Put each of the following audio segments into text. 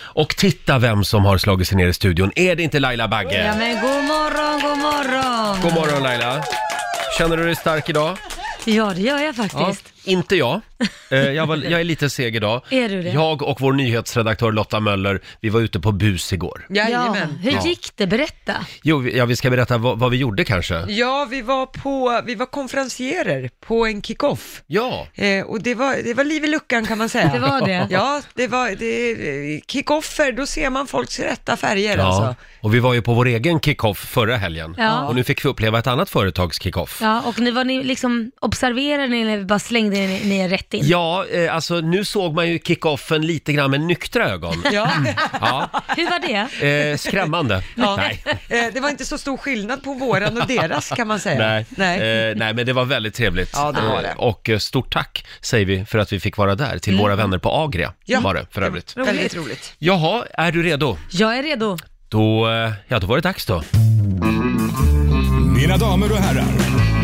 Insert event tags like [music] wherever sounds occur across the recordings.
Och titta vem som har slagit sig ner i studion. Är det inte Laila Ja Bagge? men god morgon, god morgon! God morgon Laila. Känner du dig stark idag? Ja det gör jag faktiskt. inte jag. Eh, jag, var, jag är lite seg idag. [laughs] Är du det? Jag och vår nyhetsredaktör Lotta Möller, vi var ute på bus igår. Jajamän. hur Ja. gick det? Berätta. Jo, vi- ja, vi ska berätta vad, vad vi gjorde kanske. Ja, vi var, på, vi var konferencierer på en kickoff. Ja, Eh, och det var, det var liv i luckan kan man säga. Det var det. Ja, det var det, kickoffer, då ser man folks rätta färger ja. alltså. Och vi var ju på vår egen kickoff förra helgen. Ja. Och nu fick vi uppleva ett annat företags kickoff. Ja, och ni var ni liksom, observerade ni eller bara slängde ni, ni er rätt in? Ja, eh, alltså nu såg man ju kickoffen lite grann med nyktra ögon. Mm. Ja. Ja, Hur var det? eh, skrämmande. Ja. Nej. Eh, det var inte så stor skillnad på våran och deras kan man säga. Nej. Nej. Eh, nej, men det var väldigt trevligt. Ja, det var det. Mm. Eh, Och eh, stort tack säger vi för att vi fick vara där till våra vänner på Agria. Ja. Var det för övrigt. Väldigt roligt. Jaha, är du redo? Jag är redo. Då, eh, ja, då var det dags då. Mina damer och herrar,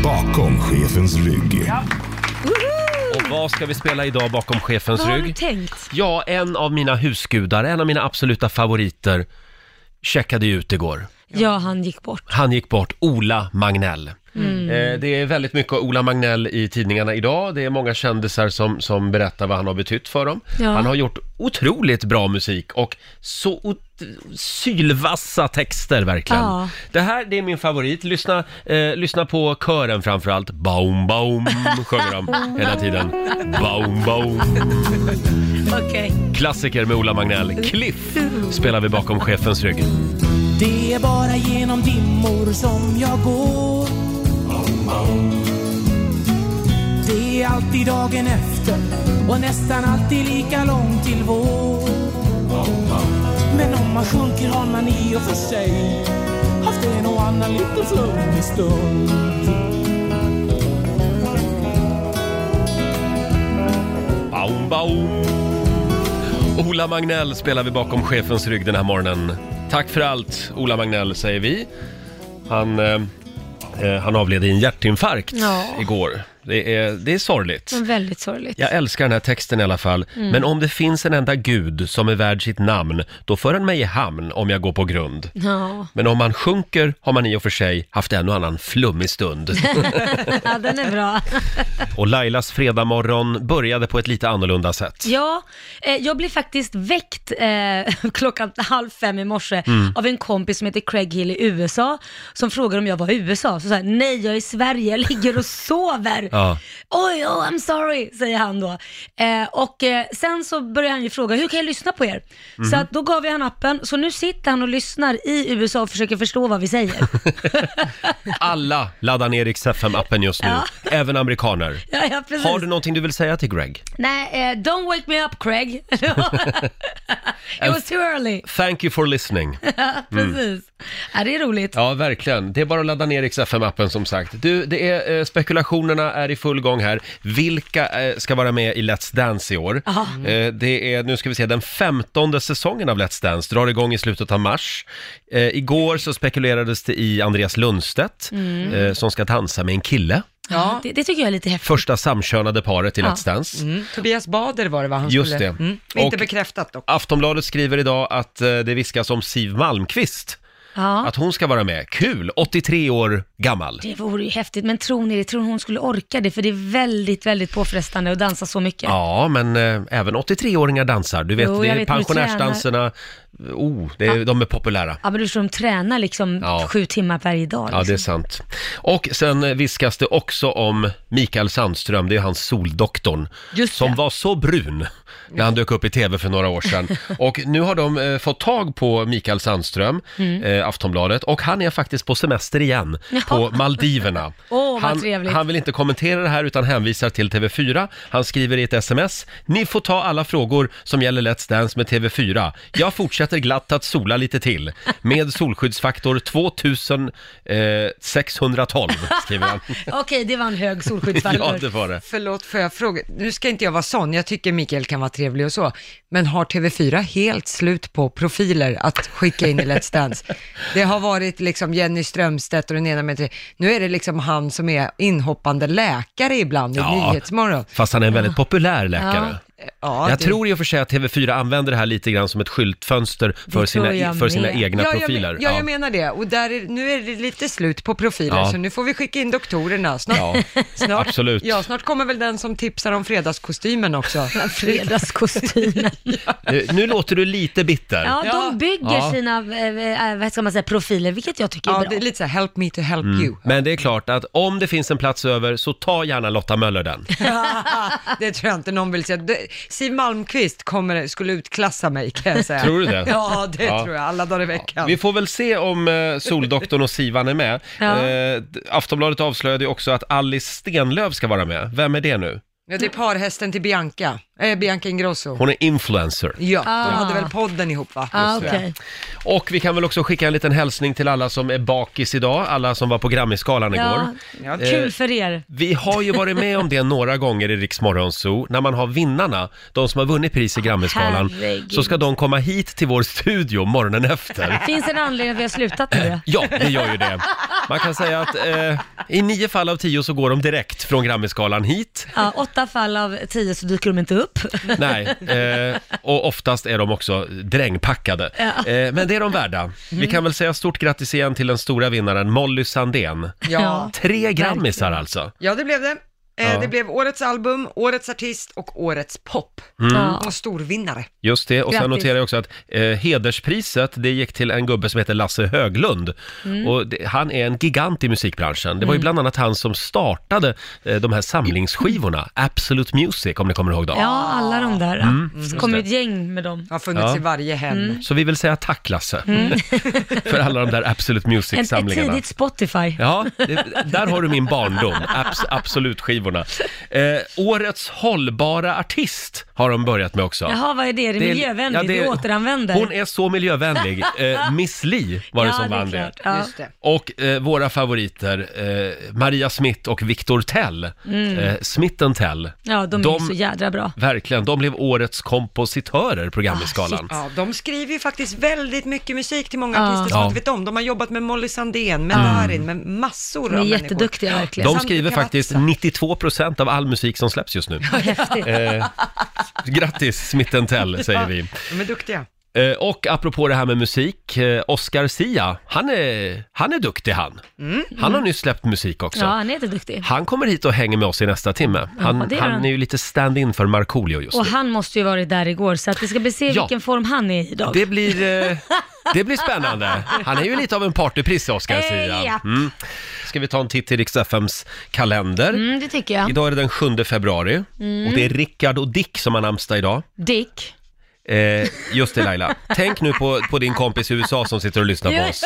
bakom chefens rygg. Och vad ska vi spela idag bakom chefens Vad har du rygg? tänkt? Ja, en av mina husgudar, en av mina absoluta favoriter, checkade ju ut igår. Ja, han gick bort. Mm. Han gick bort, Ola Magnell. Eh, det är väldigt mycket Ola Magnell i tidningarna idag. Det är många kändisar som, som berättar vad han har betytt för dem. Ja. Han har gjort otroligt bra musik och så ot- sylvassa texter verkligen. Ja. Det här det är min favorit. Lyssna, eh, lyssna på kören framförallt. Baum, baum, [laughs] sjunger de hela tiden. Baum, baum. Okej. Klassiker med Ola [laughs] Magnell. Cliff spelar vi bakom chefens rygg. Det är bara genom dimmor som jag går Det är alltid dagen efter och nästan alltid lika lång till vår Men om man sjunker har man i och för sig haft en och annan liten flummig stund Baum, baum. Ola Magnell spelar vi bakom chefens rygg den här morgonen. Tack för allt, Ola Magnell, säger vi. Han, eh, eh, han avled i en hjärtinfarkt Ja. Mm. igår. Det är, det är sorgligt. Men väldigt sorgligt. Jag älskar den här texten i alla fall. Men om det finns en enda gud som är värd sitt namn, då för han mig i hamn om jag går på grund. Ja. Men om man sjunker har man i och för sig haft en och annan flummig stund. ja, [laughs] den är bra. Och Lailas fredagmorgon började på ett lite annorlunda sätt. Ja, eh, jag blev faktiskt väckt eh, [laughs] klockan halv fem i morse Mm. av en kompis som heter Craig Hill i USA som frågade om jag var i USA. Så sa jag, nej jag är i Sverige, jag ligger och sover. Ja. Oj, oh, I'm sorry, säger han då. Eh, och eh, sen så började han ju fråga, hur kan jag lyssna på er? Så Mhm. att då gav jag han appen, så nu sitter han och lyssnar i USA och försöker förstå vad vi säger. [laughs] Alla laddar ner Rix FM-appen just nu, Ja. även amerikaner. ja, ja, precis. Har du någonting du vill säga till Greg? Nej, eh, don't wake me up Craig. [laughs] It was too early. [laughs] Thank you for listening. Precis. Ja, det är roligt. Ja, verkligen. Det är bara att ladda ner Rix FM-appen som sagt. Du, det är, eh, spekulationerna är i full gång här. Vilka eh, ska vara med i Let's Dance i år? Eh, det är, nu ska vi se, den femtonde säsongen av Let's Dance drar igång i slutet av mars. Eh, igår så spekulerades det i Andreas Lundstedt Mm. eh, som ska dansa med en kille. Ja. Det, det tycker jag är lite häftigt. Första samkönade paret i Let's Dance. Mm. Tobias Bader var det va? Han Just skulle... det. Mm. Inte Och- bekräftat dock. Aftonbladet skriver idag att eh, det viskas om Siv Malmqvist. Ja. Att hon ska vara med. Kul! 83 år gammal. Det vore ju häftigt, men tror ni det? Tror ni hon skulle orka det? För det är väldigt, väldigt påfrestande att dansa så mycket. Ja, men eh, även 83-åringar dansar. Du vet, Jo, jag det är vet, men pensionärsdanserna. Oh, det är, de är populära. Ja, men du tror de tränar liksom Ja. sju timmar varje dag. Ja, det är Liksom. sant. Och sen eh, viskas det också om Mikael Sandström, det är hans soldoktorn, Just som det. var så brun när han dök upp i tv för några [laughs] år sedan. Och nu har de eh, fått tag på Mikael Sandström, Mm. eh, Aftonbladet, och han är faktiskt på semester [laughs] igen på Maldiverna. Åh, vad han, trevligt. han vill inte kommentera det här utan hänvisar till TV4. Han skriver i ett sms, ni får ta alla frågor som gäller Let's Dance med TV4. Jag fortsätter glatt att sola lite till med solskyddsfaktor 2612, skriver han. Okej, det var en hög [laughs] ja, solskyddsfaktor. det var det. Förlåt, får jag fråga? Nu ska inte jag vara sån, jag tycker Mikael kan vara trevlig och så. Men har TV4 helt slut på profiler att skicka in i Let's Dance? Det har varit liksom Jenny Strömstedt och den ena med tre. Nu är det liksom han som är inhoppande läkare ibland i Ja. Nyhetsmorgon. Fast han är en väldigt populär läkare. Ja, jag det- tror i och för sig att TV4 använder det här lite grann som ett skyltfönster för tror sina, jag för sina med. egna ja, jag, profiler. men- ja, jag menar det. Och där är, nu är det lite slut på profiler, Ja. så nu får vi skicka in doktorerna. Snart, Ja, snart, absolut. Ja, snart kommer väl den som tipsar om fredagskostymen också. Fredagskostymen. Nu, Eh, nu låter du lite bitter. Ja, Ja. de bygger Ja. sina, eh, eh, vad ska man säga, profiler, vilket jag tycker är Ja, bra. det är lite så här, help me to help you. Mm. Men det är klart att om det finns en plats över så ta gärna Lotta Möller den. [laughs] Det tror jag inte någon vill säga. Det- Siw Malmkvist kommer, skulle utklassa mig kan jag säga. Tror du det? [laughs] Ja, det Ja. tror jag. Alla dagar i veckan. Vi får väl se om eh, Soldoktorn och Sivan är med. Ja. Eh, d- Aftonbladet avslöjade ju också att Alice Stenlöf ska vara med. Vem är det nu? Ja, det är parhästen till Bianca. Eh, Bianca Ingrosso. Hon är influencer. Ja, Ah. de hade väl podden ihop va? Ah, Just det. okej. Och vi kan väl också skicka en liten hälsning till alla som är bakis idag, alla som var på Grammyskalan igår. Eh, ja. Kul för er. Vi har ju varit med om det några gånger i Rix Morgon Zoo, när man har vinnarna, de som har vunnit pris i Grammyskalan, Herregud. så ska de komma hit till vår studio morgonen efter. [laughs] Finns en anledning att vi har slutat med det. Eh. [laughs] Ja, det gör ju det. Man kan säga att eh, i nio fall av tio så går de direkt från Grammyskalan hit. Ja, åtta fall av tio så dyker de inte upp. Nej, eh, och oftast är de också drängpackade. Ja. Eh, men det är de värda. Vi kan väl säga stort grattis igen till den stora vinnaren Molly Sandén. Ja. Tre grammisar alltså. ja, det blev det. Eh, Ja. Det blev årets album, årets artist och årets pop. Mm. Ja. Och storvinnare. Just det, och sen Grattis. noterar jag också att eh, hederspriset, det gick till en gubbe som heter Lasse Höglund. Mm. Och det, han är en gigant i musikbranschen. Det var ju bland annat han som startade eh, de här samlingsskivorna, Absolute Music, om ni kommer ihåg dem. Ja, alla de där. Så kommer ett gäng med dem. Mm. Har funnits Mm. Ja. i varje hem. Så vi vill säga tack Lasse, [laughs] för alla de där Absolute En, ett Music-samlingarna. tidigt Spotify. Ja, det, där har du min barndom. Abs, absolut skivorna. Eh, årets hållbara artist har de börjat med också. [laughs] Jaha, vad är det? Är det, Det är- miljövänligt? ja, det, det- återanvänder? Hon är [laughs] så miljövänlig. Eh, Miss Li var det ja, som vann det. det. är klart. Ja. Just det. Och eh, våra favoriter, eh, Maria Smith och Victor Tell. Mm. Eh, Smitten Tell. ja, de, är De- så jädra bra. Verkligen, de blev årets kompositörer, programmeskalan. Ah, Ja, de skriver ju faktiskt väldigt mycket musik till många Ja. artister som Ja. Mm. man inte vet om. De har jobbat med Molly Sandén, med Darin, med massor De är av jätteduktiga människor. verkligen. de Sandra skriver faktiskt Cavazza. 92% av all musik som släpps [laughs] just nu. Häftigt. Eh, grattis [laughs] Smitten Tell, säger vi. De är duktiga. Eh, Och apropå det här med musik, eh, Oscar Sia, han är, han är duktig han. Mm. Han har nyss släppt musik också. Mm. Ja, han är jätteduktig. Han kommer hit och hänger med oss i nästa timme. Han, Ja, det gör han han. är ju lite stand-in för Markoolio just Och nu. han måste ju varit där igår, så att vi ska bli se Ja. vilken form han är i idag. Det blir, eh, det blir spännande. [laughs] Han är ju lite av en partyprisse, Oscar Eh, Sia. ja. Mm. Ska vi ta en titt i Rix FMs kalender? Mm, det Mm. tycker jag. Idag är det den 7 februari och det är Rickard och Dick som har namnsdag idag. Dick. Eh, just det Laila. Tänk nu på, på din kompis i USA som sitter och lyssnar på oss.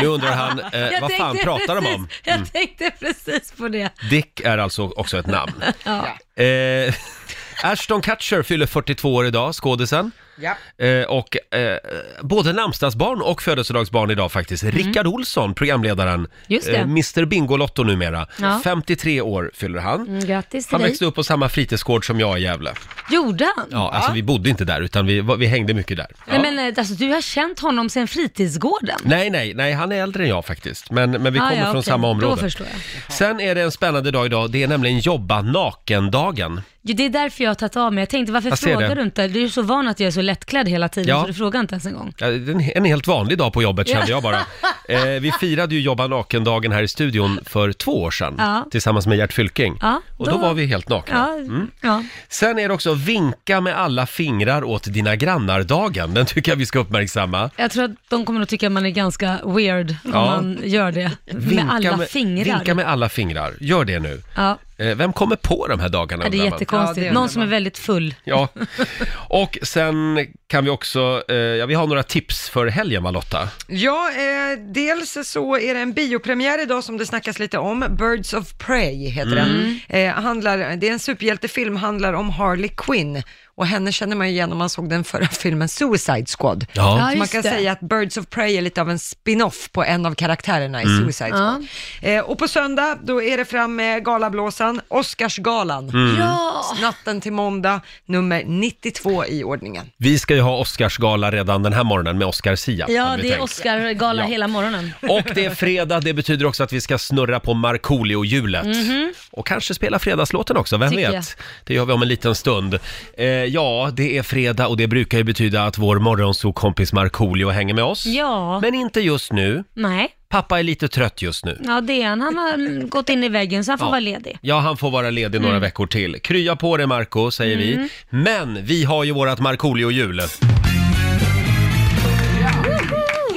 Nu undrar han, eh, Jag vad fan tänkte pratar de precis, om? Mm. Jag tänkte precis på det. [laughs] Dick är alltså också ett namn. Ja. Eh, [laughs] Ashton Kutcher fyller 42 år idag, skådisen. Ja. Eh, och eh, både namnsdagsbarn och födelsedagsbarn idag faktiskt. Rickard Olsson, programledaren. Mm. Just det. Mr Bingolotto numera. Ja. 53 år fyller han. Mm, grattis till Han dig. växte upp på samma fritidsgård som jag i Gävle. Gjorde han? Ja, alltså vi bodde inte där utan vi, var- vi hängde mycket där. Nej, men eh, alltså, du har känt honom sedan fritidsgården. Nej, nej, nej, han är äldre än jag faktiskt. Men, men vi Ah, kommer ja, från okej. samma Då område. förstår jag. Sen är det en spännande dag idag. Det är nämligen jobba naken-dagen. Jo, Det är därför jag har tagit av mig. Jag tänkte, varför Jag ser det. frågar du inte? Du är ju så van att jag är så lättklädd hela tiden, Ja. så du frågar inte ens en gång. Ja, det är En, en helt vanlig dag på jobbet kände jag bara. [laughs] Eh, vi firade ju jobba naken-dagen här i studion för två år sedan Ja. tillsammans med Gert Fylking. Ja, Och då då- var vi helt nakna. Mm. Ja, ja. Sen är det också vinka med alla fingrar åt dina grannar-dagen. Den tycker jag vi ska uppmärksamma. Jag tror att de kommer att tycka att man är ganska weird om Ja. man gör det. med alla fingrar. Vinka med alla fingrar. Gör det nu. Ja, Eh, vem kommer på de här dagarna Ja, det är undrar man? Ja, jättekonstigt. det undrar Någon som är man. väldigt full. Ja, och sen kan vi också, eh, ja vi har några tips för helgen va Lotta? Ja, eh, dels så är det en biopremiär idag som det snackas lite om. Birds of Prey heter den. Eh, handlar, det är en superhjältefilm, handlar om Harley Quinn. Och henne känner man ju igen om man såg den förra filmen Suicide Squad. Ja. Ja, Så man just kan det. säga att Birds of Prey är lite av en spin-off på en av karaktärerna i Suicide Squad. Eh, och på söndag, då är det fram med galablåsan, Oscarsgalan. Ja, Natten till måndag, nummer 92 i ordningen. Vi ska ju ha Oscarsgala redan den här morgonen med Oscar Sia. ja hade vi det är tänkt. Oscar-gala Ja. hela morgonen. Och det är fredag, det betyder också att vi ska snurra på Markoolio-hjulet. Mm-hmm. Och kanske spela fredagslåten också, vem Mhm. Tycker vet? jag. Det gör vi om en liten stund. Eh, ja, det är fredag och det brukar ju betyda att vår morgonsokompis Markoolio hänger med oss. Ja. Men inte just nu. Nej, Pappa är lite trött just nu. ja det är han. Han har mm, gått in i väggen så han får vara ledig. Ja, han får vara ledig Mm. några veckor till. Krya på dig Marco, säger vi. Men vi har ju vårat Markoolio-hjul.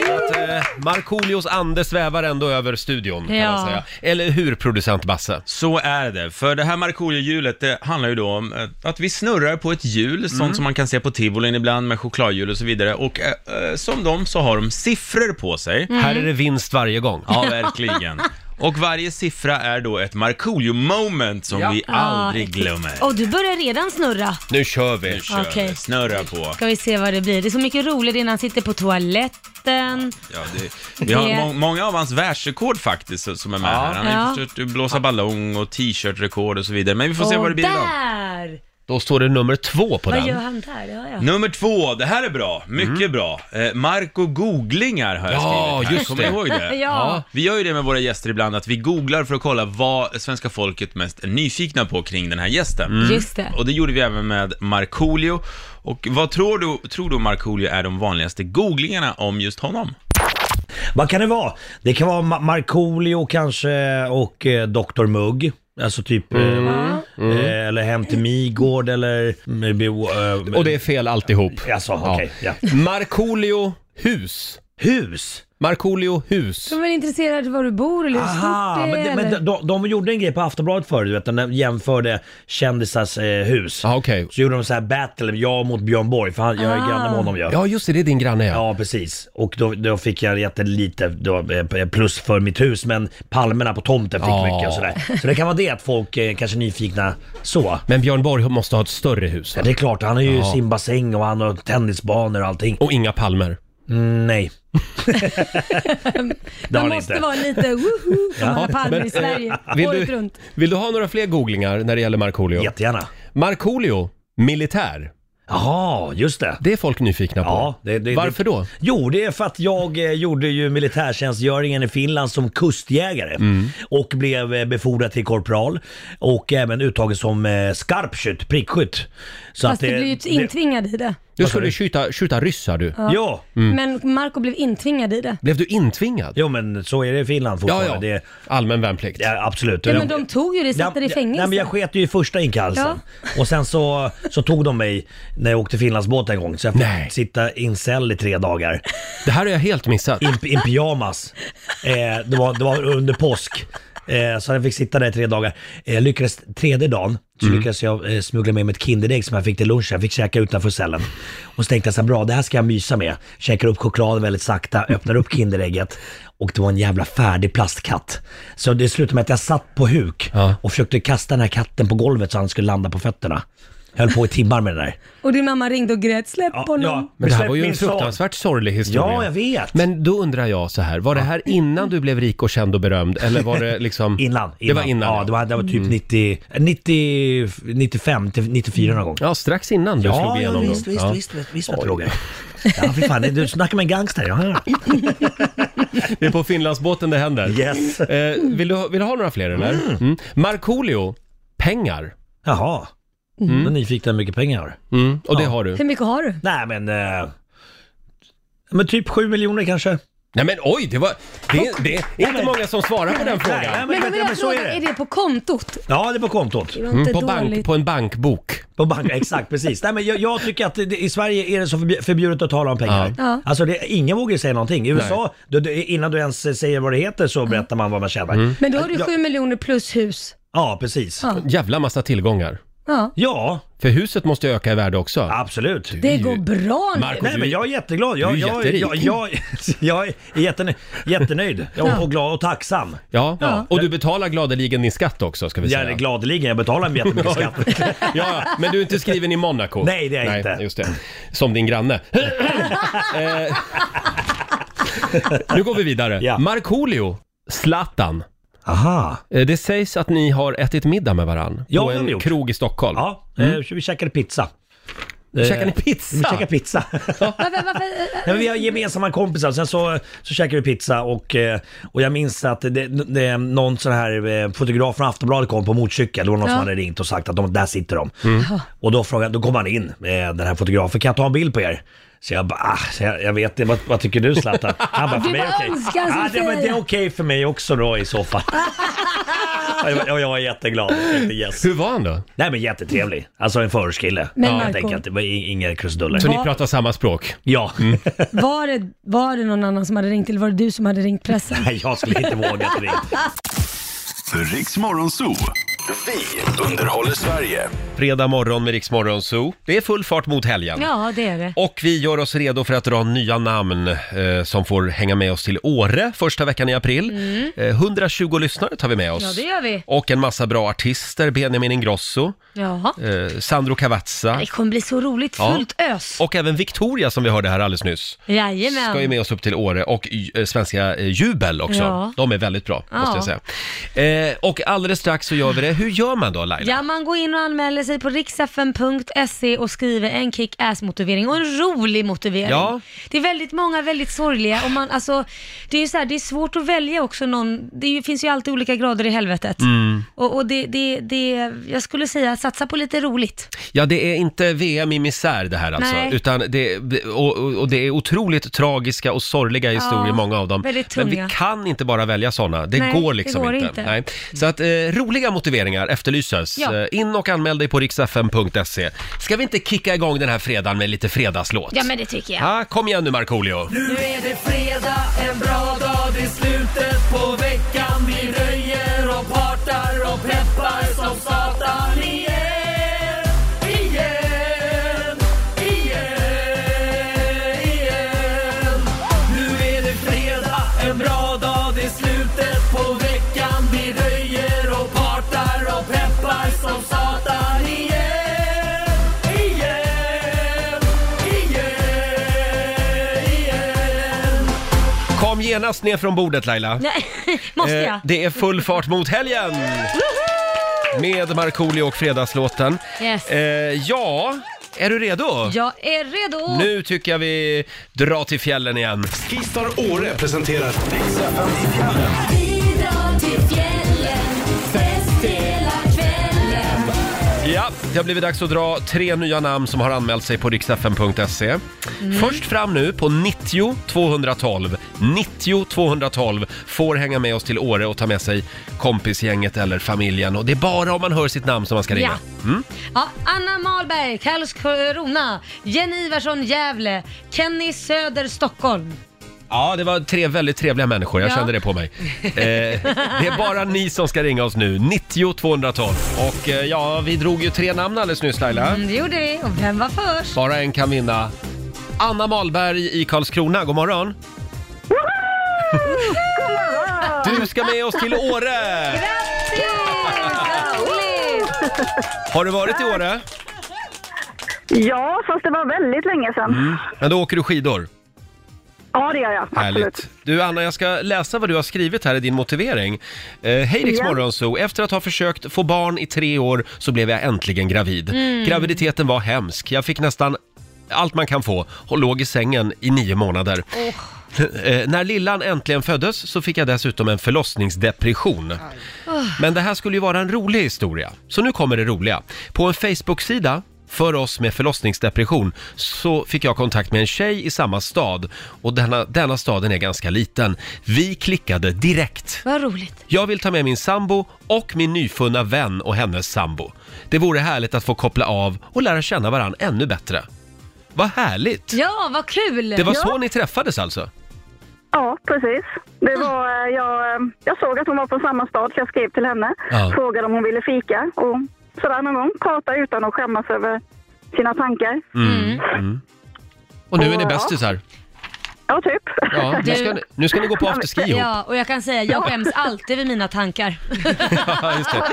Så att, eh, Markoolios ande svävar ändå över studion, kan man Ja. säga. Eller hur, producent Basse? Så är det, för det här Markoolio-hjulet, det handlar ju då om eh, att vi snurrar på ett hjul, Mm. sånt som man kan se på tivolin ibland med chokladhjul och så vidare. Och eh, eh, som dem så har de siffror på sig. Mm. Här är det vinst varje gång. Ja, verkligen. Och varje siffra är då ett Markoolio-moment som vi aldrig exakt. glömmer. Och du börjar redan snurra. Nu kör vi! Kör, Okej. Snurra på. Ska vi se vad det blir. Det är så mycket roligt innan han sitter på toaletten. Ja, det, vi har Det- må, många av hans världsrekord faktiskt eh, som är med här. Han har Ja. ju försökt blåsa ballong och t-shirt-rekord och så vidare. Men vi får se och vad det blir idag. där! Då står det nummer två på Vad gör den. han där? Ja, ja. Nummer två, det här är bra, mycket bra. Eh, Marco googlingar har jag Mm. Ja, skrivit här. just Kommer det. ni ihåg [laughs] det? Ja. Vi gör ju det med våra gäster ibland, att vi googlar för att kolla vad svenska folket mest är nyfikna på kring den här gästen. Mm. Just det. Och det gjorde vi även med Markoolio. Och vad tror du, tror du Markoolio är de vanligaste googlingarna om just honom? Vad kan det vara? Det kan vara Ma- Markoolio kanske och eh, Dr Mugg. Alltså typ, eh, Mm. eh, eller Hem till Midgård eller... Maybe, eh, Och det är fel alltihop. Alltså, okej. Ja. Ja. Markoolio hus. Hus! Markoolio hus. De är intresserade av var du bor eller hur Aha, stort Ah, men, det det, är. men eller? de, de, de gjorde en grej på Aftonbladet förut, du vet, när de jämförde kändisars eh, hus. Ja, Ah, okej. Så gjorde de så här battle, jag mot Björn Borg, för han, jag är Ah. granne med honom ju. Ja, just det, det är din granne ja. Ja, precis. Och då, då fick jag jättelite då, eh, plus för mitt hus, men palmerna på tomten fick Ja. mycket och sådär. Så det kan vara det att folk eh, kanske är nyfikna så. Men Björn Borg måste ha ett större hus. Ja, va? det är klart, han har ju simbassäng och han har tennisbanor och allting. Och inga palmer. [laughs] Mm, nej. [laughs] det har De han måste inte. vara lite [laughs] woho som alla palmer i Sverige eh, Vill året du, runt. vill du ha några fler googlingar när det gäller Markoolio? Jättegärna. Markoolio, militär. Jaha, just det. Det är folk nyfikna på. Ja, det, det, Varför det, då? Jo, det är för att jag eh, gjorde ju militärtjänstgöringen i Finland som kustjägare Mm. och blev eh, befordrad till korpral och även uttagen som eh, skarpskytt, prickskytt. Så Fast du eh, blir ju intvingad i det. Du skulle skjuta, skjuta ryssar du. Mm. det, Ja, Men Marco blev intvingad i det. Blev du intvingad? jo men så är det i Finland Ja, fortfarande. ja. Det, Allmän värnplikt. ja absolut. Ja, men de tog ju det, satte det i fängelse. Nej men jag sket ju i alltså. första inkallelsen. Och sen så, så tog de mig när jag åkte Finlandsbåt en gång. Så jag fick Nej. sitta incell i tre dagar. Det här har jag helt missat. i, i pyjamas. Eh, det, var, det var under påsk. Eh, så jag fick sitta där i tre dagar. Eh, lyckades, tredje dagen så Mm. lyckades jag eh, smuggla med mig ett Kinderägg som jag fick till lunch. Jag fick käka utanför cellen. Och så tänkte jag så här, bra det här ska jag mysa med. Käkar upp choklad väldigt sakta, öppnar upp Kinderägget. Och det var en jävla färdig plastkatt. Så det slutade med att jag satt på huk Ja. och försökte kasta den här katten på golvet så han skulle landa på fötterna. Höll på i timmar med den där. Och din mamma ringde och grät, släpp honom. Men det här släpp var ju en min son. fruktansvärt sorglig historia. Ja, jag vet. Men då undrar jag så här, var det här innan du blev rik och känd och berömd? Eller [laughs] var det liksom... Innan, Det var innan. Mm. Ja, det var, det var typ 90, 90, 95 till 94 någon gång. ja strax innan du slog igenom. då. visst, visst, Ja. visst, visst, visst, Roger. Ja, för fan, du snackar med en gangster. Ja, ja. Det är på Finlandsbåten det händer. Yes. Eh, vill, du, vill du ha några fler eller? Mm. Markoolio, pengar. Jaha. Mm. Då är nyfikna hur mycket pengar jag har. Mm. Och det har du. Hur mycket har du? Nej, men... Eh, men typ 7 miljoner kanske. Nej men oj, det var... Det, det är inte många som svarar på den Nej, frågan. men, Men, men, men, men, jag så frågar, är är det. det på kontot? Ja, det är på kontot. Det var inte Mm, på, bank, dåligt. på en bankbok. På bank, exakt precis. Nej, men jag, jag tycker att det, i Sverige är det så förb- förbjudet att tala om pengar. Ja. Ja. Alltså det, ingen vågar ju säga någonting. I USA, du, du, innan du ens säger vad det heter så berättar Mm. man vad man tjänar. Men då har du Ja. sju miljoner plus hus. Ja, precis. Ja. Jävla massa tillgångar. Ja. Ja, För huset måste ju öka i värde också. absolut. Det går bra nu. Marco, Nej men jag är jätteglad. Jag, du är jag, jätterik. jag, jag, jag är jättenöjd, jättenöjd. Och, och glad och tacksam. Ja. och du betalar gladeligen din skatt också ska vi säga. Jag är gladeligen, jag betalar jättemycket skatt. [laughs] ja, ja, men du är inte skriven i Monaco. Nej, det är jag Nej, inte. Just det. Som [laughs] din granne. Eh, nu går vi vidare. Ja. Markoolio, Zlatan. Aha. Eh, Det sägs att ni har ätit middag med varann Ja, på det har vi en gjort. krog i Stockholm. Mm. Ja, eh, vi käkade pizza. Käkar ni Vi pizza? käkade pizza. Varför, varför, Nej, men vi har gemensamma kompisar, sen så, så käkade vi pizza och, eh, och jag minns att det, det, någon sån här eh, fotograf från Aftonbladet kom på motorcykel. Det var någon Ja. som hade ringt och sagt att de, där sitter de. Mm. Och då, frågade, då kom han in, eh, den här fotografen, kan jag ta en bild på er? Så jag bara, ah, så jag, jag vet det, vad, vad tycker du Zlatan? Han bara, Du bara okej. önskar som ah, det, men det är säger. okej för mig också då i [laughs] så fall. Och jag, och jag är jätteglad. Jag tänkte, Yes. Hur var han då? Nej men jättetrevlig. Alltså en förortskille. Men helt Marco- enkelt. Det var i- Inga krusiduller. Så ni Ja. pratar samma språk? Mm. Ja. [laughs] var, det, var det någon annan som hade ringt eller var det du som hade ringt pressen? Nej, jag skulle inte våga det. Riks Morgonzoo. Vi underhåller Sverige. Fredag morgon med Riksmorgon Zoo. Det är full fart mot helgen. Ja, det är det. Och vi gör oss redo för att dra nya namn eh, som får hänga med oss till Åre första veckan i april. Eh, 120 lyssnare tar vi med oss. Mm. Ja, det gör vi. Och en massa bra artister, Benjamin Ingrosso, Jaha. eh, Sandro Cavazza Det kommer bli så roligt, Ja. fullt ös. och även Victoria som vi hörde här alldeles nyss. Jajamän. Ska ju med oss upp till Åre och eh, svenska eh, Jubel också. Ja. De är väldigt bra, Ja. måste jag säga. Eh, och alldeles strax så gör vi det. Hur gör man då Laila? Ja, man går in och anmäler sig på riksfn.se och skriver en kick-ass-motivering och en rolig motivering. Ja. Det är väldigt många väldigt sorgliga och man, alltså, det är ju så här, det är svårt att välja också någon, det är ju, finns ju alltid olika grader i helvetet. Mm. Och, och det, det, det, jag skulle säga satsa på lite roligt. Ja, det är inte VM i misär det här alltså. Nej. Utan det, och, och och det är otroligt tragiska och sorgliga historier, Ja, många av dem. väldigt Men vi tunga. kan inte bara välja sådana. Det Nej, går det liksom går inte. inte. Nej. Så att eh, roliga motiveringar efterlyses. Ja. Eh, in och anmäl dig på riksfm.se. Ska vi inte kicka igång den här fredagen med lite fredagslåt? Ja, men det tycker jag. Ja, kom igen nu Markoolio. Nu är det fredag, en bra dag, det är slutet på veckan Vi röjer och partar och peppar som satan igen Igen, igen, igen Nu är det fredag, en bra dag, det är slutet på veckan Vi röjer och partar och peppar som satan igen Igen, igen, igen Kom genast ner från bordet Laila. Nej, [laughs] måste Eh, jag? det är full fart mot helgen! Med Markoolio och Fredagslåten. Yes. Eh, ja, är du redo? Jag är redo! Nu tycker jag vi drar till fjällen igen. Skistar Åre presenterar Riks FM i fjällen. Ja, det har blivit dags att dra tre nya namn som har anmält sig på riksfn.se. Mm. Först fram nu på 90 212. 90 212 får hänga med oss till Åre och ta med sig kompisgänget eller familjen. Och det är bara om man hör sitt namn som man ska ringa. Mm? Ja. Ja, Anna Malberg, Karlskrona, Jenny Ivarsson, Gävle, Kenny Söder, Stockholm. Ja, det var tre väldigt trevliga människor. Jag Ja. kände det på mig. [laughs] Eh, det är bara ni som ska ringa oss nu. 90 212. Och eh, ja, vi drog ju tre namn alldeles nyss Laila. Mm, Det gjorde vi. Och vem var först? Bara en kan vinna. Anna Malberg i Karlskrona, god morgon. Du ska med oss till Åre! Grattis! Vad roligt! Har du varit i Åre? Ja, fast det var väldigt länge sedan. Mm. Men då åker du skidor. Ja, det gör jag. Absolut. Härligt. Du Anna, jag ska läsa vad du har skrivit här i din motivering. Eh, Hej Rix Ja. Morgonzoo. Efter att ha försökt få barn i tre år så blev jag äntligen gravid. Mm. Graviditeten var hemsk. Jag fick nästan allt man kan få och låg i sängen i nio månader. [laughs] Eh, när lillan äntligen föddes så fick jag dessutom en förlossningsdepression. Men det här skulle ju vara en rolig historia, så nu kommer det roliga. På en Facebook-sida för oss med förlossningsdepression så fick jag kontakt med en tjej i samma stad och denna, denna staden är ganska liten. Vi klickade direkt. Vad roligt. Jag vill ta med min sambo och min nyfunna vän och hennes sambo. Det vore härligt att få koppla av och lära känna varandra ännu bättre. Vad härligt! Ja, vad kul! Det var så ni träffades alltså? Ja, precis. Det Mm. var, eh, jag, eh, jag såg att hon var från samma stad så jag skrev till henne. Ja. Frågade om hon ville fika och sådär någon gång. Prata utan att skämmas över sina tankar. Mm. Mm. Och nu är ni Ja. bästisar. Ja, typ. Ja, nu, ska ni, nu ska ni gå på afterski ihop. Ja, och jag kan säga, jag skäms alltid vid mina tankar. Ja, just det.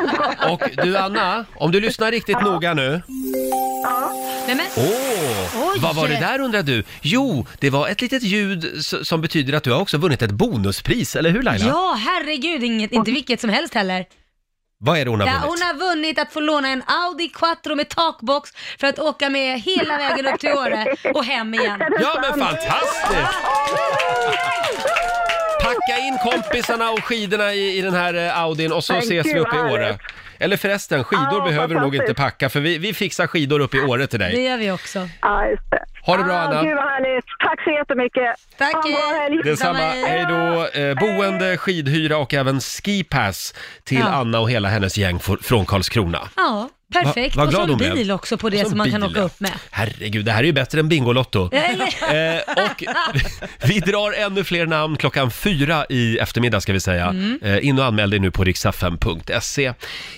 Och du Anna, om du lyssnar riktigt noga nu. Nej, men, Åh, Oj. vad var det där undrar du? Jo, det var ett litet ljud s- som betyder att du har också vunnit ett bonuspris, eller hur Laila? ja, herregud, inget, inte vilket som helst heller. Vad är det hon har Ja, vunnit? hon har vunnit att få låna en Audi Quattro med takbox för att åka med hela vägen upp till Åre och hem igen. Är det Ja sant? men fantastiskt! Packa in kompisarna och skidorna i, i den här eh, Audin och så Men ses gud, vi uppe i vad Åre. härligt. Eller förresten, skidor Ja, behöver du nog inte fantastiskt. packa för vi, vi fixar skidor uppe i Åre till Det dig. gör vi också. Ja, just det. Ha det bra, Ah, Anna. Gud vad härligt. Tack så jättemycket. Tack, Ha en bra hej. helg. Detsamma, Detsamma, hej då! Eh, boende, skidhyra och även skipass till Ja. Anna och hela hennes gäng for- från Karlskrona. Ja, perfekt. Va- vad och så glad en hon blev. bil också på Och det så som man en kan bil, åka ja. upp med. Herregud, det här är ju bättre än Bingolotto. Ja, eller- Eh, och vi drar ännu fler namn klockan fyra i eftermiddag ska vi säga. Mm. Eh, in och anmäl dig nu på riksfm.se.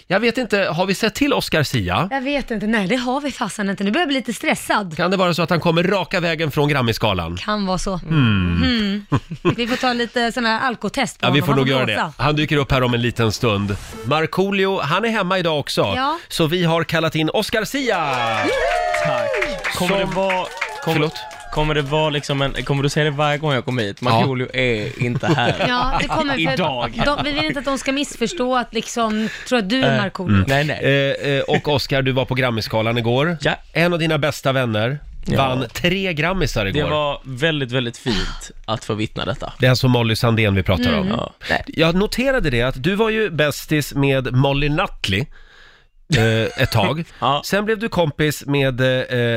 Jag vet inte, har vi sett till Oscar Sia? Jag vet inte, nej det har vi fasen inte. Nu börjar jag bli lite stressad. Kan det vara så att han kommer raka vägen från Grammisgalan? Hmm. Kan vara så. Mm. [laughs] Vi får ta lite sån här alkotest på Ja, vi honom. får Han nog göra det. blåsa. Han dyker upp här om en liten stund. Markoolio, han är hemma idag också. Ja. Så vi har kallat in Oscar Sia! Tack. Kommer det vara... Kommer, Förlåt? kommer det vara liksom en... Kommer du säga det varje gång jag kommer hit? Markoolio är inte här. [laughs] Ja, det kommer för Idag. De, vi vill inte att de ska missförstå att liksom, tro att du är Markoolio. Nej, nej. Eh, eh, och Oscar, du var på Grammisgalan igår. Ja. En av dina bästa vänner Ja. vann tre Grammisar Det igår. var väldigt, väldigt fint att få vittna detta. Det är alltså Molly Sandén vi pratar Mm. om. Ja. Nej. Jag noterade det att du var ju bästis med Molly Nutley eh, ett tag. [laughs] Ja. Sen blev du kompis med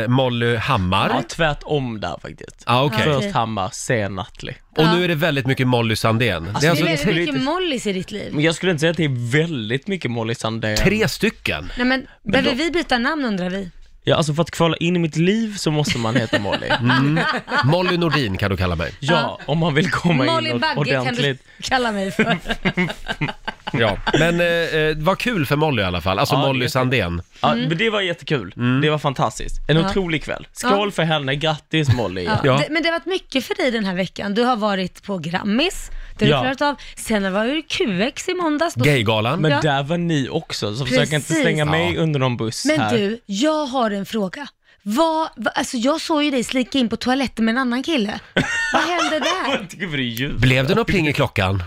eh, Molly Hammar. Ja, tvärtom där faktiskt. Ja, okej. Först Hammar, sen Nathalie. Och nu är det väldigt mycket Molly Sandén. det Det är är alltså väldigt det är mycket lite- Mollys i ditt liv. Men jag skulle inte säga att det är väldigt mycket Molly Sandén. tre stycken. Nej, men, behöver då- vi byta namn undrar vi? Ja, alltså för att kvala in i mitt liv så måste man heta Molly. Mm. Molly Nordin kan du kalla mig. Ja, om man vill komma Molly in Bagge kan du ordentligt. kalla mig för. Ja. Men eh, eh, vad kul för Molly i alla fall. Alltså Ja, Molly jätte- Sandén. Mm. Ja, Mm. men det var jättekul. Det var fantastiskt. En otrolig kväll. Skål för henne, grattis Molly. Ja. Ja. Det, men det har varit mycket för dig den här veckan. Du har varit på Grammis, det har Ja. du klarat av. Sen var du QX i måndags. Då... Gaygalan. Men Ja. där var ni också, så försök inte Precis. slänga Ja. mig under någon buss Men här. du, jag har en fråga. Vad, vad, alltså jag såg ju dig slika in på toaletten med en annan kille. Vad [laughs] hände där? [laughs] Jag tycker det är ljud. Blev det något pling i klockan?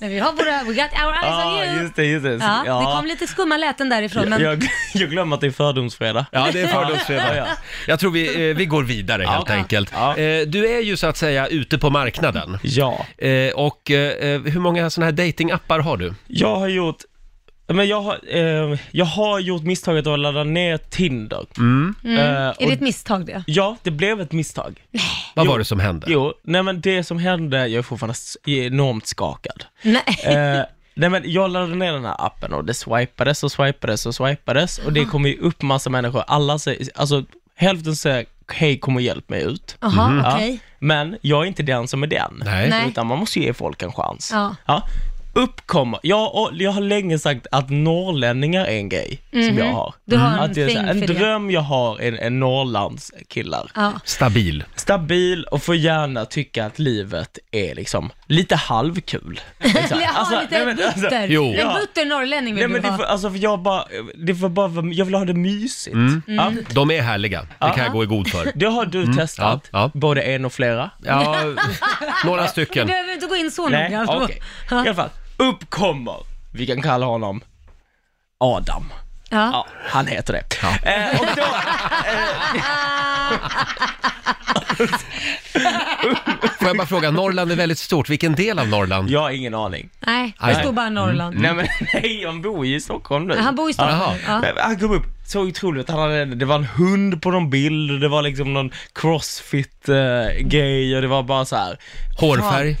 Men vi har våra, we got our eyes Ja, on you. Ah, just det, just det. Ja, Ja. Det kom lite skumma läten därifrån, men jag, jag glömmer att det är fördomsfredag. Ja, det är fördomsfredag. [laughs] Ja, ja. Jag tror vi, eh, vi går vidare helt Ja. enkelt. Ja. Eh, du är ju så att säga ute på marknaden. ja. Eh, och eh, hur många sådana här datingappar har du? Jag har gjort men jag har, eh, jag har gjort misstaget att ladda ner Tinder. Mm. Eh, Mm. är det och, ett misstag det? ja, det blev ett misstag. Vad Jo. var det som hände? Jo, nej men det som hände, jag är fortfarande s- enormt skakad. [laughs] Nej. [laughs] Eh, nej men jag laddade ner den här appen och det swipades och swipades och swipades och det kom ju upp massa människor, alla säger, alltså hälften säger hej kom och hjälp mig ut. Jaha, okej. Men jag är inte den som är den. Mhm. Nej. Nej. Utan man måste ge folk en chans. Ja. Uppkomma, jag, och jag har länge sagt att norrlänningar är en grej som jag har. Mhm. Du har en att det är så här, thing en för det. dröm jag har är en norrlandskillar. Ja. Stabil. Stabil och får gärna tycka att livet är liksom [laughs] lite halvkul. Exakt. Ja, lite nej, men alltså, butter. jo. En butter norrlänning vill Nej du men det vara. [laughs] får, alltså för jag bara, det får bara, vara- jag vill ha det mysigt. Mm. Mm. Ja, De är härliga. Det kan jag gå i god för. Mm. det har du testat, ja. både en och flera. Ja, några Du stycken. behöver inte gå in så Nej, noggrant. okej. I alla fall, uppkommer, vi kan kalla honom Adam. Ja. Ja, han heter det. Eh, och då, eh, [laughs] Får jag bara fråga, Norrland är väldigt stort. Vilken del av Norrland? jag har ingen aning. Nej, det Nej. står bara Norrland. Mm. Nej men [laughs] nej, han bor ju i Stockholm nu. Han bor i Stockholm. Ja. Men Han kom upp, så otroligt, han hade, det var en hund på någon bild, och det var liksom någon crossfit-grej och det var bara så här Hårfärg?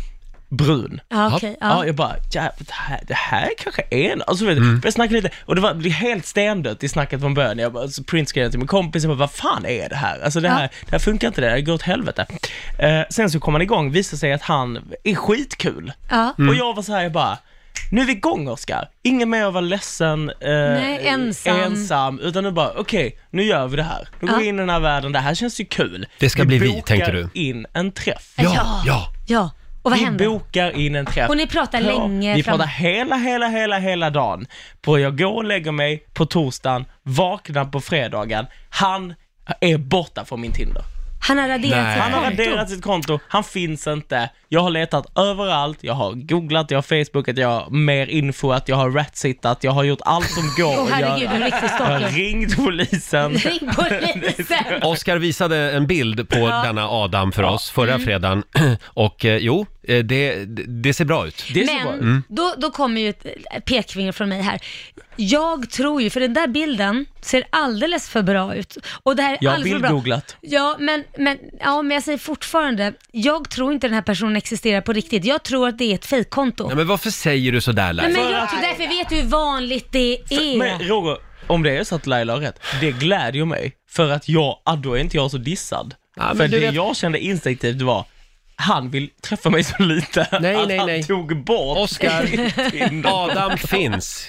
brun. Ja, okej. Ja. ja. jag bara, jävlar, det här, det här kanske är en... Alltså, vet du, Mm. jag snackade lite, och det var det är helt stendött i snacket från början. Jag bara, så printscreenade till min kompis, jag bara, vad fan är det här? Alltså det här, det här funkar inte, det här går åt helvete. Eh, sen så kom han igång, visade sig att han är skitkul. Ja. Och jag var så här, jag bara, nu är vi igång Oscar. Ingen mer att vara ledsen, eh, Nej, ensam. ensam, utan nu bara, okej, nu gör vi det här. Nu går Ja. vi in i den här världen, det här känns ju kul. Det ska bli vi, bokar tänkte du. in en träff. Ja, ja. Ja, och vad Vi händer? bokar in en träff. Och ni pratar länge Vi fram- pratar hela, hela, hela, hela dagen. På jag går och lägger mig på torsdagen, vaknar på fredagen. Han är borta från min Tinder. Han har raderat Nej. sitt Han har konto. raderat sitt konto, han finns inte. Jag har letat överallt, jag har googlat, jag har facebookat, jag har mer info, att jag har ratsittat, jag har gjort allt som går Åh att herregud, du är en göra. riktig Jag har stalker. ringt polisen. Ring polisen! Oskar visade en bild på denna Adam för oss förra Mm. fredagen [clears throat] och eh, jo, eh, det, det ser bra ut. Det är så bra. Mm. Men då, då kommer ju ett eh, pekfinger från mig här. Jag tror ju, för den där bilden ser alldeles för bra ut. Och det här är Jag har alldeles för bra. bildgooglat. Ja men, men, ja, men jag säger fortfarande, jag tror inte den här personen existerar på riktigt. Jag tror att det är ett fejkkonto. Nej, men varför säger du sådär Nej, Laila? men jag tror därför vet du hur vanligt det är. Men Roger, om det är så att Laila har rätt, det glädjer mig. För att jag, ah, då är inte jag så dissad. Ja, men för du det vet- jag kände instinktivt var, han vill träffa mig så lite Nej, att nej, han nej. tog bort Oscar. [laughs] Tinder. Adam finns.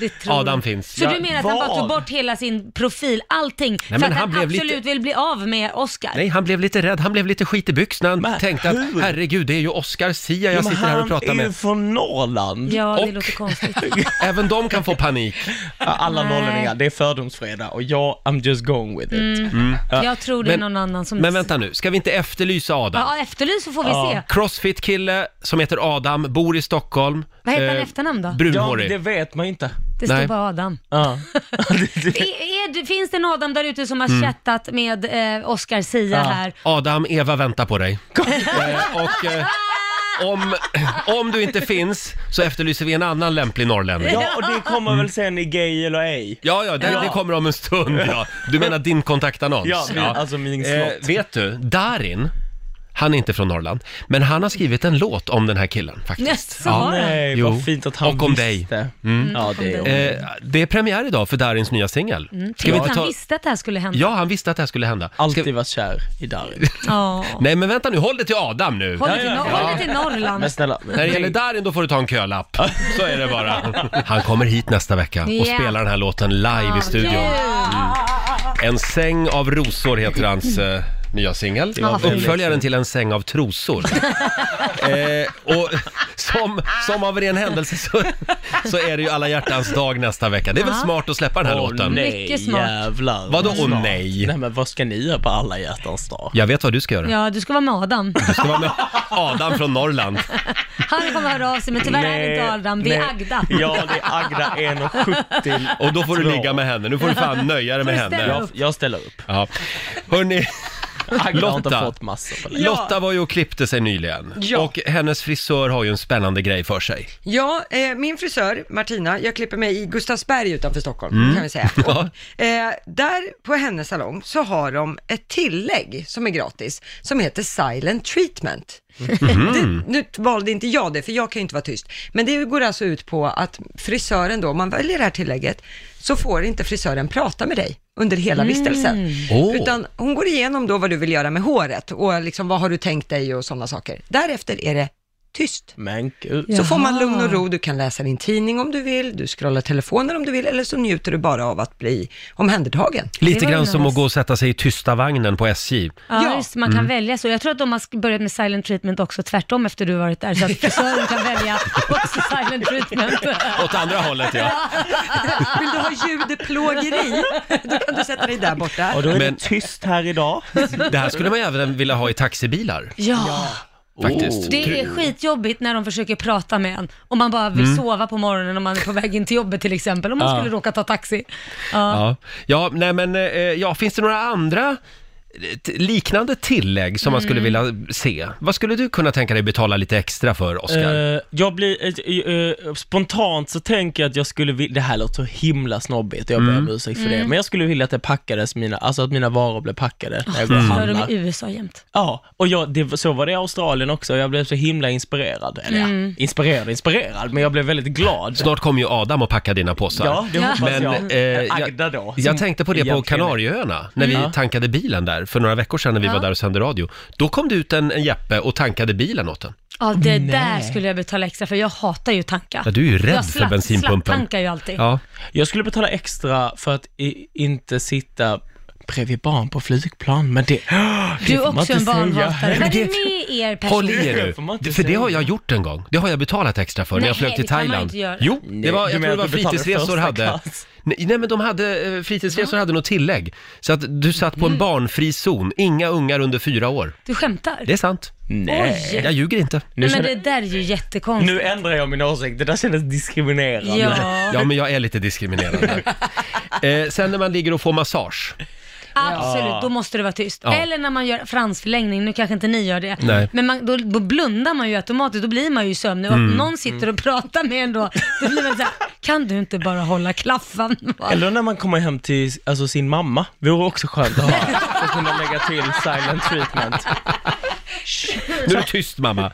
det tror jag. Adam finns. Så Ja, du menar att han bara vad? tog bort hela sin profil, allting, men för att han han, blev absolut lite- vill bli av med Oscar? Nej, han blev lite rädd. Han blev lite skit i byxorna. Han Men tänkte att hur? herregud, det är ju Oscar Sia Men jag sitter här och pratar Han är ju med. från Norrland. Ja, det Och- låter konstigt. [laughs] Även de kan få panik. Alla Nej. norrlänningar, det är fördomsfredag och jag, I'm just going with it. Mm. Jag tror det är någon annan som... Mm. Men vänta nu, ska vi inte efterlysa Adam? Ja, efterlys så får vi se. Crossfit-kille som heter Adam, bor i Stockholm. Vad heter han i Eh, efternamn då? Ja, Brunhårig. det vet man inte. Det Nej. står bara [laughs] Adam. Ja. Är, är, du- finns det en Adam där ute som har Mm. chattat med eh, Oscar Sia Ja. här? Adam, Eva väntar på dig. Eh, och eh, om, om du inte finns så efterlyser vi en annan lämplig norrlänning. ja, och det kommer väl sen i Gay eller ej. Mm. Ja, ja, det, det kommer om en stund. Ja. Du menar din kontaktannons? Ja, min- alltså min slott. Eh, vet du, Darin, han är inte från Norrland, men han har skrivit en låt om den här killen faktiskt. Jaså, har han? Mm. Nej, Jo. vad fint att han Och om dig. Mm. visste. Ja, det är om dig. Eh, det är premiär idag för Darins nya singel. Tänk Mm, att han visste att det här skulle hända. Ja, han visste att det här skulle hända. Ska... Alltid varit kär i Darin. [laughs] Ja. Nej, men vänta nu, håll det till Adam nu. Håll, dig till, Ja, ja, Nor- ja. håll dig till Norrland. Men snälla, När det tänk- gäller Darin då får du ta en kölapp. Så är det bara. Han kommer hit nästa vecka och Ja. spelar den här låten live i studion. Mm. En säng av rosor heter hans eh, nya singel. Ja, vad fint. Uppföljaren till En säng [laughs] av trosor. eh, och som, som av ren händelse så, så är det ju alla hjärtans dag nästa vecka. Det är väl Ja. smart att släppa den här Åh låten? nej, Mycket smart. jävlar. Vadå, vad åh smart. nej? Nej men vad ska ni göra på alla hjärtans dag? Jag vet vad du ska göra. Ja, du ska vara med Adam. Du ska vara med Adam från Norrland. Han kommer höra av sig, men tyvärr är det inte Adam, det är nej. Agda. Ja, det är Agda 1,70. Och då får du Bra. ligga med henne. Nu får du fan nöja dig med Får du ställa henne. Jag, jag ställer upp. Ja. Hörni, Agda har inte Lotta. fått massor på länge. Lotta var ju och klippte sig nyligen. Och hennes frisör har ju en spännande grej för sig. Ja, eh, min frisör Martina, jag klipper mig i Gustavsberg utanför Stockholm kan vi säga. Och, eh, där på hennes salong så har de ett tillägg som är gratis som heter silent treatment. Det, nu valde inte jag det för jag kan ju inte vara tyst. Men det går alltså ut på att frisören då, om man väljer det här tillägget, så får inte frisören prata med dig under hela vistelsen. Åh. Utan hon går igenom då vad du vill göra med håret och liksom vad har du tänkt dig och sådana saker. Därefter är det tyst. Men gud. Ja. Så får man lugn och Jaha. ro, du kan läsa din tidning om du vill, du scrollar telefonen om du vill, eller så njuter du bara av att bli omhändertagen. Lite Det var grann ju som nice. att gå och sätta sig i tysta vagnen på SJ. Ja, Ja. Just, Mm. man kan välja så. Jag tror att de har sk- börjat med silent treatment också tvärtom efter du varit där, så [laughs] att frisören kan välja också silent treatment. Åt andra hållet ja. Vill du ha ljudplågeri? Då kan du sätta dig där borta. Och då är Men- det tyst här idag. [laughs] Det här skulle man ju även vilja ha i taxibilar Ja, Oh. faktiskt. det är skitjobbigt när de försöker prata med en. Om man bara Mm. vill sova på morgonen om man är på väg in till jobbet till exempel, om man Ah. skulle råka ta taxi. Ja. Ja, ja nej men eh, ja, finns det några andra eh, t- liknande tillägg som man Mm. skulle vilja se? Vad skulle du kunna tänka dig betala lite extra för, Oscar? Eh, jag blir, eh, eh, spontant så tänker jag att jag skulle vilja, det här låter så himla snobbigt, jag ber Mm. om ursäkt för det, men jag skulle vilja att det packades, mina, alltså att mina varor blev packade när jag Mm. går och Gör de handlar. i USA jämt. Ja, och jag, det, så var det i Australien också, jag blev så himla inspirerad. Eller Mm. ja, inspirerad, inspirerad, men jag blev väldigt glad. Snart kommer ju Adam och packa dina påsar. Ja, det hoppas Men, jag. eh, jag- Agda då. som Jag tänkte på det på egentligen- Kanarieöarna, när vi Mm. tankade bilen där för några veckor sedan när vi Ja. var där och sände radio. Då kom det ut en, en Jeppe och tankade bilen åt en. Ja, det Nej. där skulle jag betala extra för. Jag hatar ju tanka. Ja, du är ju rädd jag för bensinpumpen. tankar ju alltid. Ja. Jag skulle betala extra för att i, inte sitta bredvid barn på flygplan, [gasps] men det... Du är också en barnhatare. Nej, men Vad det- är med er personer? Håll i er får man inte nu, för det säga. har jag gjort en gång. Det har jag betalat extra för när Nej, jag flög till det kan man Thailand. inte göra. Jo, det Nej, var, du jag tror menar det var att du betalar fritidsresor första hade. klass? Nej, nej, men de hade, eh, fritidsresor hade något tillägg. Så att du satt på Mm. en barnfri zon, inga ungar under fyra år. Du skämtar? Det är sant. Nej. Jag ljuger inte. Nu, Nej, men det känner- där är ju jättekonstigt. nu ändrar jag min åsikt, det där kändes diskriminerande. Ja, Ja, men jag är lite [laughs] diskriminerande. eh, sen när man ligger och får massage. absolut. Då måste det vara tyst. Ja. Eller när man gör fransförlängning, nu kanske inte ni gör det, Nej. men man, då, då blundar man ju automatiskt, då blir man ju sömnig. Och Mm. om någon sitter och pratar med en då, då blir man såhär, kan du inte bara hålla klaffen? Eller när man kommer hem till alltså, sin mamma, vore också skönt att [laughs] ha, för att kunna lägga till silent treatment. Nu är du tyst mamma.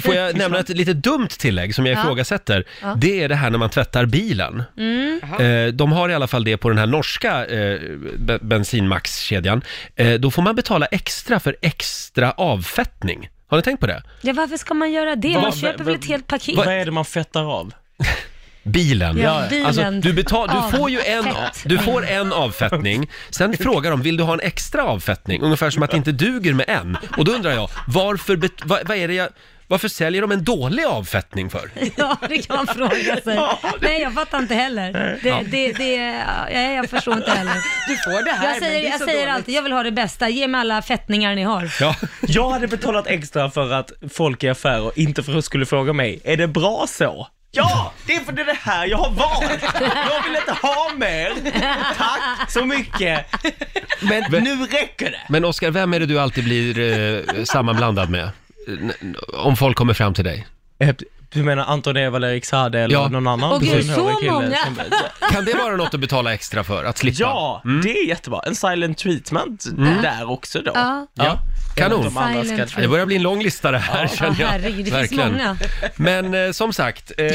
Får jag nämna ett lite dumt tillägg som jag ifrågasätter? Det är det här när man tvättar bilen. Mm. Eh, de har i alla fall det på den här norska eh, be- bensinmaxkedjan. Eh, då får man betala extra för extra avfettning. Har ni tänkt på det? Ja, varför ska man göra det? Man Vad- köper vad- väl ett helt paket? Vad är det man fettar av? Bilen. Ja, bilen. Alltså, du, betal, du får ju en, Avfett. du får en avfettning, sen frågar de vill du ha en extra avfettning? Ungefär som att det inte duger med en. Och då undrar jag, varför, bet- vad, vad är det jag, varför säljer de en dålig avfettning för? [laughs] Ja, det kan man fråga sig. Nej, jag fattar inte heller. Det, det, det, ja, nej, jag förstår inte heller. Du får det här, Jag säger, men det är jag så säger dåligt. alltid, jag vill ha det bästa. Ge mig alla fettningar ni har. Ja. Jag hade betalat extra för att folk i affärer inte för skulle fråga mig, är det bra så? Ja, det är för det är det här jag har valt! Jag vill inte ha [laughs] mer! Tack så mycket! Men nu räcker det! Men Oskar, vem är det du alltid blir eh, sammanblandad med? N- n- Om folk kommer fram till dig. Eh, Du menar Anton Eva, Erik Saade eller Ja. någon annan Åh, gud, brunhårig så kille många. som- [laughs] Kan det vara något att betala extra för? Att slippa? Mm. Ja, det är jättebra. En silent treatment där också då. Mm. Ja. ja. Kanon. De andra Silent ska... Ja, Det börjar bli en lång lista det här känner jag. Ja, herregud, det finns många. Men eh, som sagt, eh,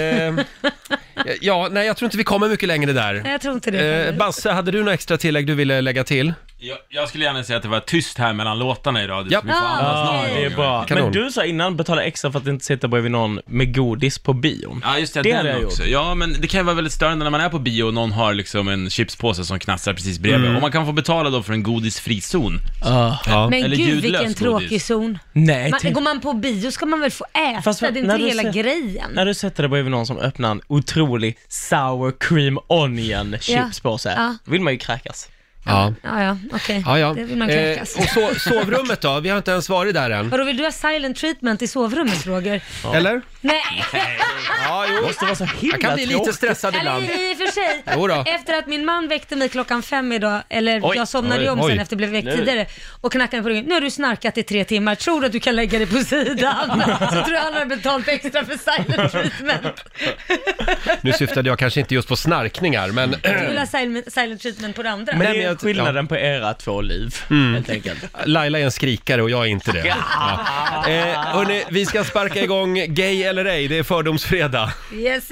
ja, nej jag tror inte vi kommer mycket Nej, längre där. jag tror inte det. Eh, Basse, hade du några extra tillägg du ville lägga till? Jag, jag skulle gärna säga att det var tyst här mellan låtarna idag. Det Ja. ska vi få Ah, andas Ja, någon det är gång. bra. Kanon. Men du sa innan, betala extra för att inte sitta bredvid någon med godis på bion. Ja, just det. Det den hade jag också. Ja, men det kan ju vara väldigt störande när man är på bio och någon har liksom en chipspåse som knastrar precis bredvid. Och man kan få betala då för en godisfri zon. Eh, Ah. Mm. Ja. Men eller gud ljudlös vilken godis. tråkig zon. Nej, Man, tänk- går man på bio ska man väl få äta? Fast det vad- är inte när du hela ser- grejen. När du sätter dig bredvid någon som öppnar en otrolig sour cream onion chipspåse, Ja. då vill man ju kräkas. Ja, [laughs] Ja, ja, okej. ja. ja. Det vill man Eh, kräkas. och so- sovrummet då? Vi har inte ens varit där [laughs] än. Vadå, vill du ha silent treatment i sovrummet, Roger? Eller? Nej, Ja, jo. Måste vara så himla Jag kan bli lite tråkigt. stressad eller ibland. i, i och för sig. Jo då. Efter att min man väckte mig klockan fem idag, eller Oj, jag somnade ju om oj, sen oj. efter att jag blev väckt Nu. tidigare, och knackade mig på ryggen. Nu har du snarkat i tre timmar, tror du att du kan lägga dig på [laughs] sidan? Så tror jag han har betalt extra för silent treatment. Nu syftade jag kanske inte just på snarkningar, men Du vill ha silent, silent treatment på det andra? Men Nej, det men är jag- Mm. skillnaden på era två liv, helt enkelt. Laila är en skrikare och jag är inte det. Ja. Eh, hörni, vi ska sparka igång Gay eller ej, det är fördomsfredag. Yes it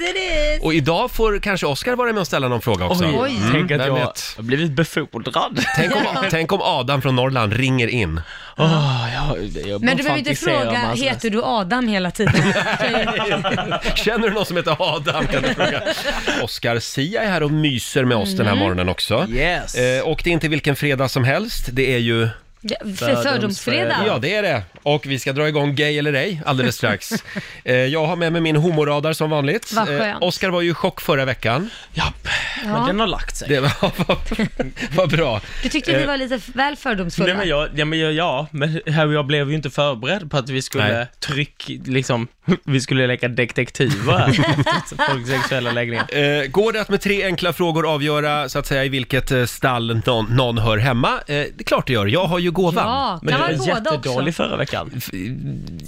is! Och idag får kanske Oskar vara med och ställa någon fråga också. Mm. Oj, tänk att vem jag vet? har blivit befordrad. Tänk [laughs] om, tänk om Adam från Norrland ringer in. Åh, jag, jag Men bara du behöver inte fantiserar om fråga, hans heter du Adam hela tiden? Känner du någon som heter Adam? Kan du fråga. Oskar Sia är här och myser med oss den Mm. här morgonen också. Yes. Eh, och det är inte vilken fredag som helst, det är ju... För fördomsfredag? Ja, Ja. det är det. Och vi ska dra igång Gay eller ej [laughs] alldeles strax. eh, jag har med mig min homoradar som vanligt. Vad skönt. Oskar var ju i chock förra veckan. Japp, men den har lagt sig. Det var, var, var [laughs] bra. Du tyckte vi var lite väl fördomsfulla? Nej, men jag, ja, men jag, ja, men här och jag blev ju inte förberedd på att vi skulle Nej. tryck, liksom, [laughs] vi skulle leka detektiver [laughs] här. Folks sexuella läggningar. Eh, går det att med tre enkla frågor avgöra så att säga i vilket eh, stall någon, någon hör hemma? Eh, det är klart det gör, jag har ju gåvan. Ja, Men kan du var vara båda jättedålig också. förra veckan.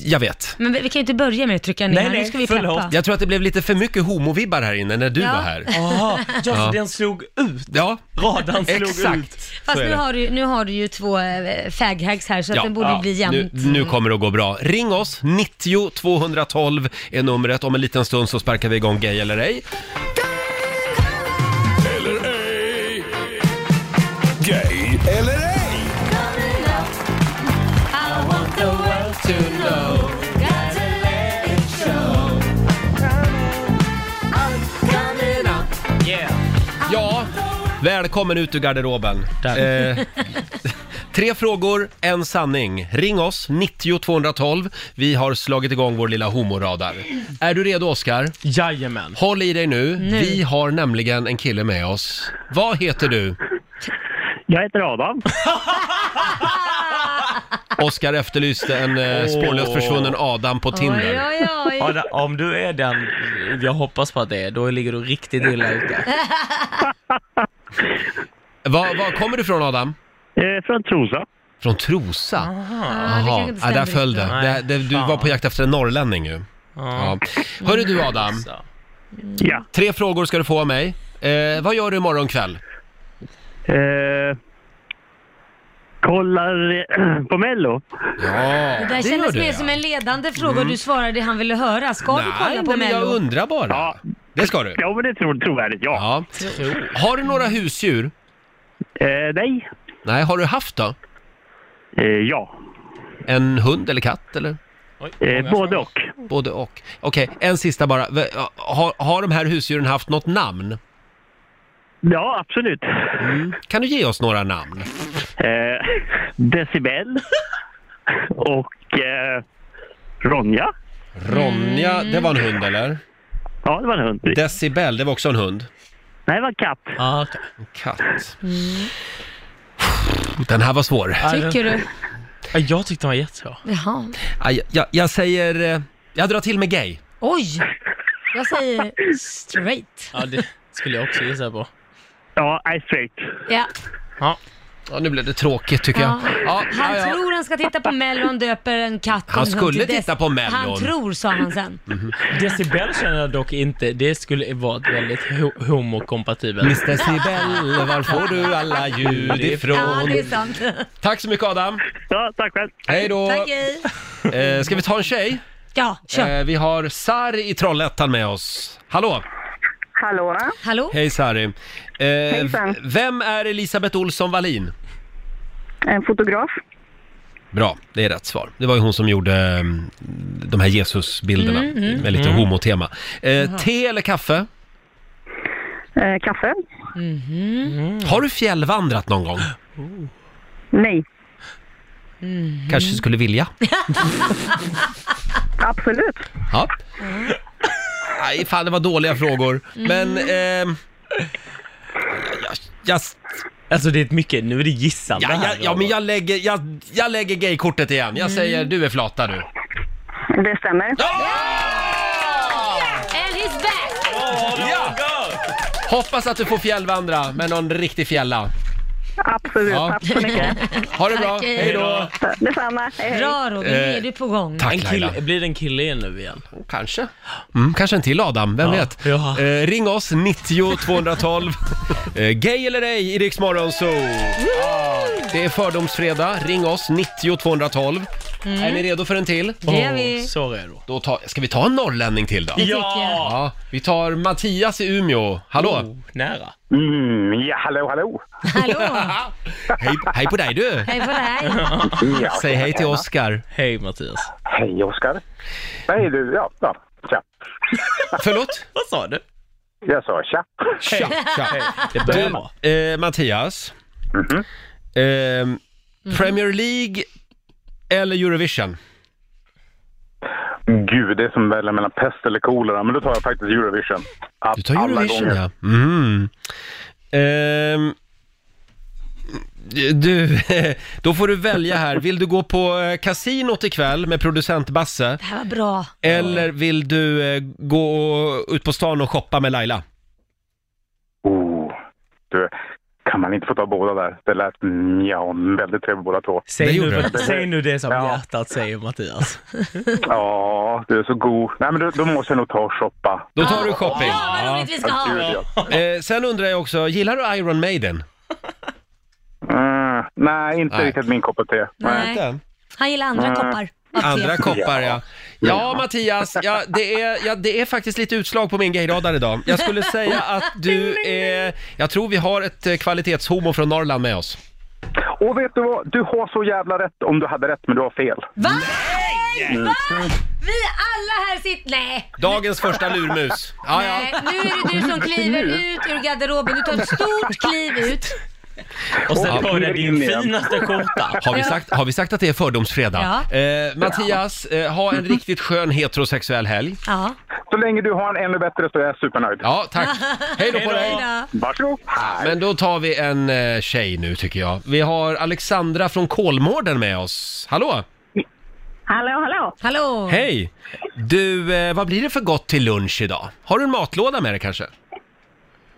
Jag vet. Men vi, vi kan ju inte börja med att trycka ner Nej, här. nu nej, ska vi förlåt. peppa. Jag tror att det blev lite för mycket homovibbar här inne när du Ja. var här. Jaha, ja, för den slog ut. Ja, Radan slog ut. exakt. Fast Så är nu det. har, du, nu har du ju två äh, faghags här så att Ja, den borde ju ja. bli jämnt. Nu, nu kommer det att gå bra. Ring oss, 90 212 är numret. Om en liten stund så sparkar vi igång Gay eller ej. Gay eller ej? I want the world to know, got to let Välkommen ut ur garderoben. Eh, [laughs] tre frågor, en sanning. Ring oss, 90 212. Vi har slagit igång vår lilla homoradar. Är du redo, Oskar? Jajamän. Håll i dig nu. Nu. Vi har nämligen en kille med oss. Vad heter du? Jag heter Adam. Oskar efterlyste en eh, spårlöst försvunnen Adam på Tinder. Oj, oj, oj. Ada, om du är den jag hoppas på att det är, då ligger du riktigt illa [laughs] ute. Var, var kommer du från Adam? Eh, från Trosa. Från Trosa? Ah. Aha. Ah, det kanske Ja, inte där stämde föll det. riktigt. det, det du var på jakt efter en norrlänning ju. Ja. Hörru du Adam. Ja. Tre frågor ska du få av mig. Eh, vad gör du imorgon kväll? Eh, kollar [clears throat] eh, på Mello. Ja, Det där kändes mer som en ledande fråga och Mm. du svarade det han ville höra. Ska du kolla på Mello? undrar bara. Ja. Det ska du. Ja, men det tror trovärdigt, ja. Har du några husdjur? Eh, nej. Eh, Nej, har du haft då? ja. En hund eller katt eller? Eh, både och. Både och. Okej, en sista bara. V- Har, har de här husdjuren haft något namn? Mm. Ja, absolut. Kan du ge oss några namn? Eh, decibel [laughs] och eh, Ronja. Ronja, det var en hund eller? Ja, det var en hund. Decibel, det var också en hund. Nej, det var en katt. Ja, Katt. Mm. Den här var svår. Tycker du? Jag tyckte den var jättebra. Jaha. Aj, jag, jag säger... eh, Jag drar till med gay. Oj! Jag säger straight. Ja, det skulle jag också gissa på. Ja, I straight. Ja. Ja. nu blev det tråkigt tycker Ja. jag. Ja, han ja, ja. tror han ska titta på Mello, han döper en katt. liksom Han till- skulle till dess- titta på Mello. Han tror, sa han sen. Mm-hmm. Decibel känner jag dock inte, det skulle vara ett väldigt ho- homokompatibelt. Mr. Sibel, var får du alla ljud Ja, det är ifrån? sant. Tack så mycket Adam. Ja, tack själv. Hej då. Tack, hej. Eh, ska vi ta en tjej? Ja, kör. Eh, vi har Sari i Trollhättan med oss. Hallå! Hallå? Hallå? Hej Sari. Eh, Hejsan. v- vem är Elisabeth Olsson Wallin? En fotograf? Bra, det är rätt svar. Det var ju hon som gjorde mm, de här Jesusbilderna Mm, mm. med lite Mm. homotema. Eh, te eller kaffe? Mm. Eh, kaffe? Mhm. Har du fjällvandrat någon gång? Nej. Mhm. Mm. Kanske skulle vilja? [laughs] Absolut. Ja. Nej, fan det var dåliga frågor. Men... Mm. ehm, jag, jag, Alltså det är ett mycket, nu är det gissande ja, här. jag, ja, men jag lägger, jag, jag lägger gaykortet igen. Jag säger du är flata du. Mm. Det stämmer. [laughs] And he's back! Ja! Hoppas att du får fjällvandra med någon riktig fjälla. Absolut. Ja. Tack så mycket. [laughs] Ha det bra, Tack, hej. hej då! Detsamma. Hej, hej. Bra Robin, nu är du på gång. Eh, Tack en Laila. kille, blir det en kille igen nu igen? Kanske. Mm, kanske en till Adam, vem Ja, vet? ja. Eh, ring oss, 90 [laughs] 212. eh, gay eller ej i Rix Morgon Zoo. Ja, Det är fördomsfredag, ring oss, 90 212. Mm. Är ni redo för en till? Det gör vi. Så är då. Då tar, ska vi ta en norrlänning till då? Det tycker jag. Ja, vi tar Mattias i Umeå. Hallå! Nära. Mm, ja, hallå, hallå. Hallå! Hej, hej på dig du! Hej på dig! Ja, Säg hej till Oskar. Hej Mattias. Hej, Oskar. Hej, du. Ja, ja. Tja. Förlåt? Vad sa du? [laughs] Jag sa tja. Tja, tja. Det börjar bra. Du, eh, Mattias. Mhm. Ehm, Premier League eller Eurovision? Gud, det är som väl mellan pest eller kolera, men då tar jag faktiskt Eurovision. Att Du tar alla Eurovision gånger. ja. Mm. Ehm, du, [laughs] då får du välja här. Vill du gå på eh, kasinot ikväll med producent Basse? Det här var bra. Eller vill du eh, gå ut på stan och shoppa med Laila? Oh, du, kan man inte få ta båda där? Det lät mm, ja, väldigt trevligt båda två. Det Säg gjorde nu, du. säg nu det som Ja. hjärtat säger Mattias. Ja, du är så god. Nej, men då, då måste jag nog ta och shoppa. Då tar du shopping. Ja, vad roligt vi ska Gud, ha! ja. Eh, sen undrar jag också, gillar du Iron Maiden? Mm, nej, inte Nej. riktigt min kopp av te. Nej, han gillar Mm. andra koppar. av te. Andra koppar ja. Ja. Ja Mattias, ja, det, är, ja, det är faktiskt lite utslag på min gayradar idag. Jag skulle säga att du är, jag tror vi har ett eh, kvalitetshomo från Norrland med oss. Och vet du vad? Du har så jävla rätt om du hade rätt, men du har fel. Va? Va? Vi alla här sitter... Nej! Dagens första lurmus. Ja, ja. Nej, nu är det du som kliver ut ur garderoben. Du tar ett stort kliv ut. Och sen Ja. på dig din finaste skjorta. Har vi, sagt, har vi sagt att det är fördomsfredag? Ja. Eh, Mattias, eh, ha en riktigt skön heterosexuell helg. Ja. Så länge du har en ännu bättre så är jag supernöjd. Ja, tack. Hej då på dig. Varsågod. Men då tar vi en eh, tjej nu tycker jag. Vi har Alexandra från Kolmården med oss. Hallå! Hallå, hallå! Hallå! Hej! Du, eh, vad blir det för gott till lunch idag? Har du en matlåda med dig kanske?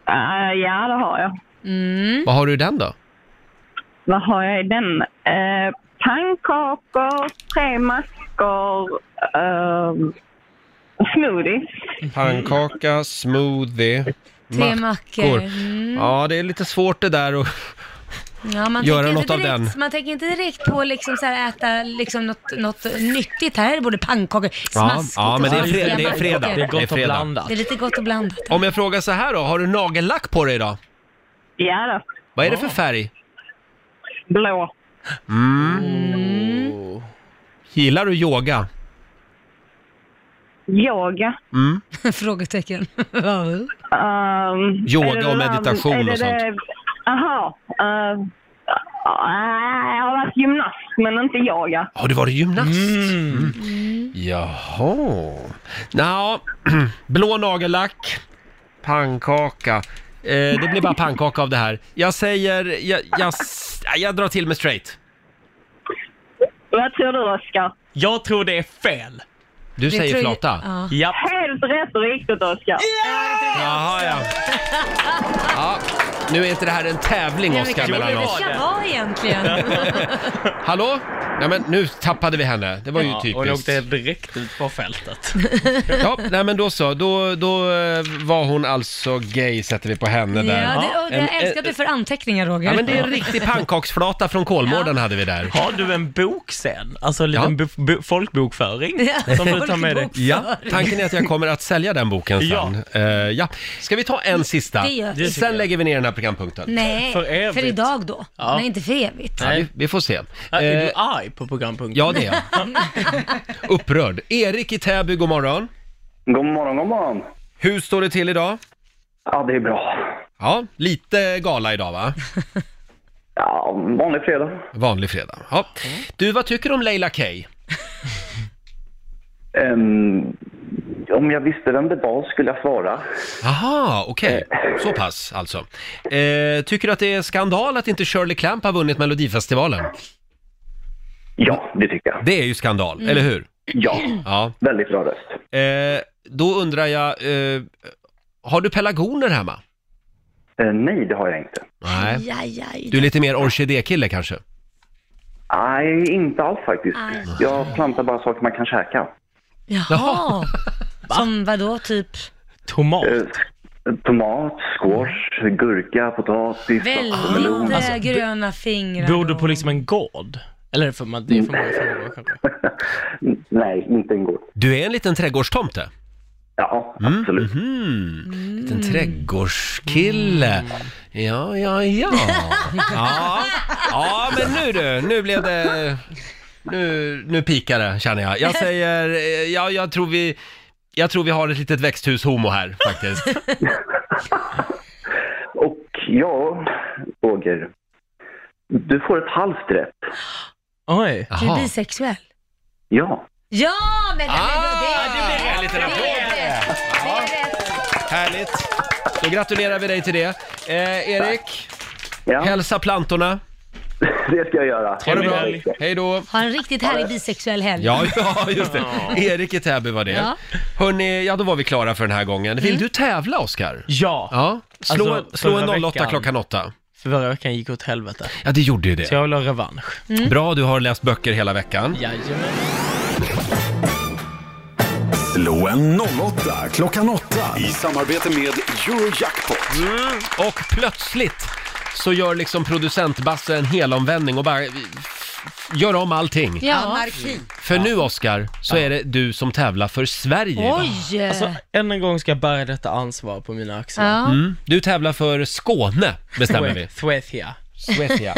Eh, ja, det har jag. Mm. Vad har du i den då? Vad har jag i den? Eh, pannkakor, tre maskor, uh, smoothies. Pannkaka, smoothie, Tre mackor. Mm. Ja, det är lite svårt det där och... Ja, man Göra tänker inte något av direkt, den. Man tänker inte direkt på liksom så här äta liksom något, något nyttigt. Här är det både pannkakor, smaskigt ja, men det är och fre- smaskiga det är mackor. fredag. Det är gott Det är och fredag. blandat. Det är lite gott och blandat. Om jag frågar så här då, har du nagellack på dig idag? Ja då. Vad är det för färg? Mm. Blå. Mm. Gillar du yoga? [laughs] Yoga. Mm. Frågetecken. Ehm, Yoga är det och det där- meditation är det och sånt. det- Jaha. ehm, ah, jag har varit gymnast, men inte yoga. Har du varit gymnast? Mm. Jaha. Nå, [clears throat] blå nagellack, pannkaka. Eh, det blir bara pannkaka av det här. Jag säger, jag, jag, s- jag drar till med straight. Vad tror du, Oskar? Jag tror det är fel. Du säger flata. Ja. Japp. Helt rätt och riktigt, Oskar. Jaha, ja. ja. Nu är inte det här en tävling, Oskar, mellan oss. Det var egentligen. [laughs] Hallå? Nej, men nu tappade vi henne. Det var ju Ja, Hon typiskt. åkte direkt ut på fältet. Ja, nej men då så. Då, då eh, var hon alltså gay, sätter vi på henne ja, där. det, och En- jag älskar att du får anteckningar Roger. Ja men det är en riktig pannkaksflata från Kolmården hade vi där. Har du en bok sen? Alltså en liten bu- bu- folkbokföring Ja, som du tar med dig? folkbokföring. Ja, tanken är att jag kommer att sälja den boken sen. Ja. Ja. ja. Ska vi ta en sista? Det gör vi. Sen lägger vi ner den här programpunkten. Nej, För för, evigt. idag då. Ja. Nej, inte för evigt. Ja, vi, vi får se. Ja, Är Eh, du arg på programpunkten? ja, det är jag. Upprörd. Erik i Täby, god morgon. God morgon, god morgon. Hur står det till idag? Ja, det är bra. Ja, lite gala idag va? [laughs] Ja, vanlig fredag. Vanlig fredag. Ja. Du, vad tycker du om Leila Kay? Ehm, om jag visste vem det var skulle jag svara. Aha, [laughs] okej. Så pass alltså. Eh, tycker du att det är skandal att inte Shirley Clamp har vunnit Melodifestivalen? Ja, det tycker jag. Mm. Det är ju skandal, eller hur? Ja, Ja. väldigt bra röst. Eh, då undrar jag, eh, har du pelargoner hemma? Eh, nej, det har jag inte. Nej. Aj, aj. Du är lite mer orkidékille kanske? Nej, inte alls faktiskt. Nej. Jag plantar bara saker man kan käka. Jaha. [laughs] Som vadå, typ? Tomat. Eh, tomat, squash, gurka, potatis. Väldigt eh, gröna fingrar. Bor du då. på liksom en gård? Eller är det för man, det är för många frågor kanske? Nej, inte en god. Du är en liten trädgårdstomte? Ja, absolut. Hmm. Liten trädgårdskille. Ja, ja, ja. ja. Ja, men nu du, nu blev det... Nu, nu pikar det känner jag. Jag säger, eh, ja, jag tror vi... Jag tror vi har ett litet växthus-homo här faktiskt. [laughs] Och ja, Roger. Du får ett halvt rätt. Du Oj. är Jaha. bisexuell. Ja. Ja, men det, Ah, det, det blir en liten det, applåd. är rätt. Det är rätt. Härligt. Då gratulerar vi dig till det. Eh, Erik, ja, hälsa plantorna. [laughs] det ska jag göra. Ha det Trevlig bra. helg. Hej då. Ha en riktigt härlig bisexuell helg. Ja, [laughs] ja, just det. Erik i Täby var det. Ja. Mm. Hörni, ja då var vi klara för den här gången. Vill du tävla, Oskar? Ja. Ja, slå, Alltså, slå förra en 08 veckan. klockan 8. Förra veckan gick åt helvete. Ja, det gjorde ju det. Mm. Så jag vill ha revansch. Mm. Bra, du har läst böcker hela veckan. Jajamän. Slå en 08 klockan 8 i samarbete med Eurojackpot. Och plötsligt så gör liksom producent Basse en helomvändning och bara eh, f- gör om allting. Ja. Anarki. För nu, Oskar, så är det du som tävlar för Sverige. Oj! Alltså, än en gång ska jag bära detta ansvar på mina axlar. ja. Mm. Du tävlar för Skåne, bestämmer vi. Thwe- Thwethia. Swetia.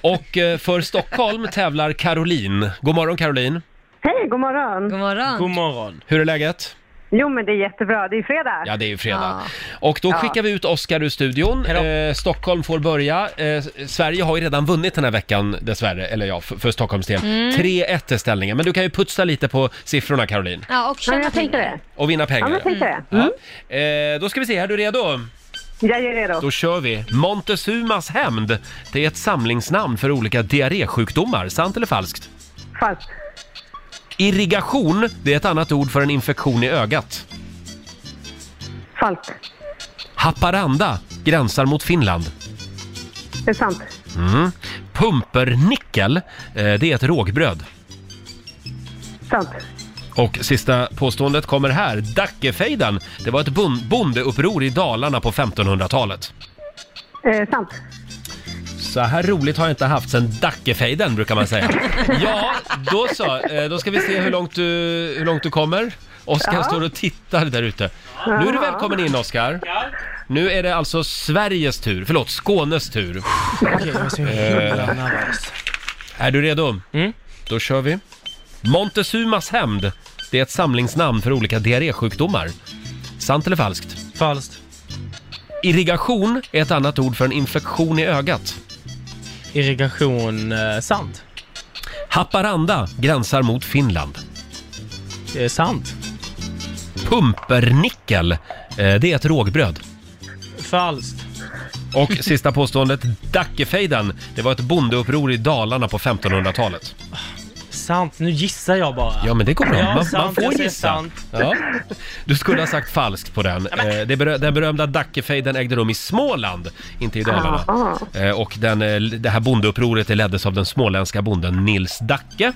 Och eh, för Stockholm tävlar Caroline. God morgon Caroline. Hej, god morgon! God morgon! God morgon. Hur är läget? Jo, men det är jättebra. Det är ju fredag. Ja, det är ju fredag. Och då skickar vi ut Oscar ur studion. Eh, Stockholm får börja. Eh, Sverige har ju redan vunnit den här veckan dessvärre, eller ja, för, för Stockholms del. Mm. 3-1 är ställningen, men du kan ju putsa lite på siffrorna Caroline. Ja, och tjäna jag tänkte det. Och vinna pengar. Ja, men tänkte det. Ja. Eh, då ska vi se, är du redo? Mm. Jag är redo. Då kör vi! Montezumas hämnd. Det är ett samlingsnamn för olika diarrésjukdomar, sant eller falskt? Falskt. Irrigation, det är ett annat ord för en infektion i ögat. Falskt. Haparanda gränsar mot Finland. Det är sant. Mm. Pumpernickel, eh, det är ett rågbröd. Sant. Och sista påståendet kommer här. Dackefejden, det var ett bon- bondeuppror i Dalarna på 1500-talet. Eh, sant. Så här roligt har jag inte haft sedan Dackefejden brukar man säga. ja, då så. Eh, Då ska vi se hur långt du, hur långt du kommer. Oskar Ja. står och tittar där ute. Nu är du Ja. välkommen in Oskar. Nu är det alltså Sveriges tur, förlåt Skånes tur. Eh, Är du redo? Mm. Då kör vi. Montezumas hämnd. Det är ett samlingsnamn för olika diarrésjukdomar. Sant eller falskt? Falskt. Irrigation är ett annat ord för en infektion i ögat. Irrigation, eh, sant. Haparanda gränsar mot Finland. Det är sant. Pumpernickel, eh, det är ett rågbröd. Falskt. Och sista påståendet, Dackefejden, det var ett bondeuppror i Dalarna på 1500-talet. Sant. Nu gissar jag bara. Ja, men det går bra. Ja, Man, sant, man får jag säger gissa. sant. Ja. Du skulle ha sagt falskt på den. Eh, det berö- den berömda Dackefejden ägde rum i Småland, inte i Dalarna. Ah. Eh, Och den, eh, det här bondeupproret det leddes av den småländska bonden Nils Dacke.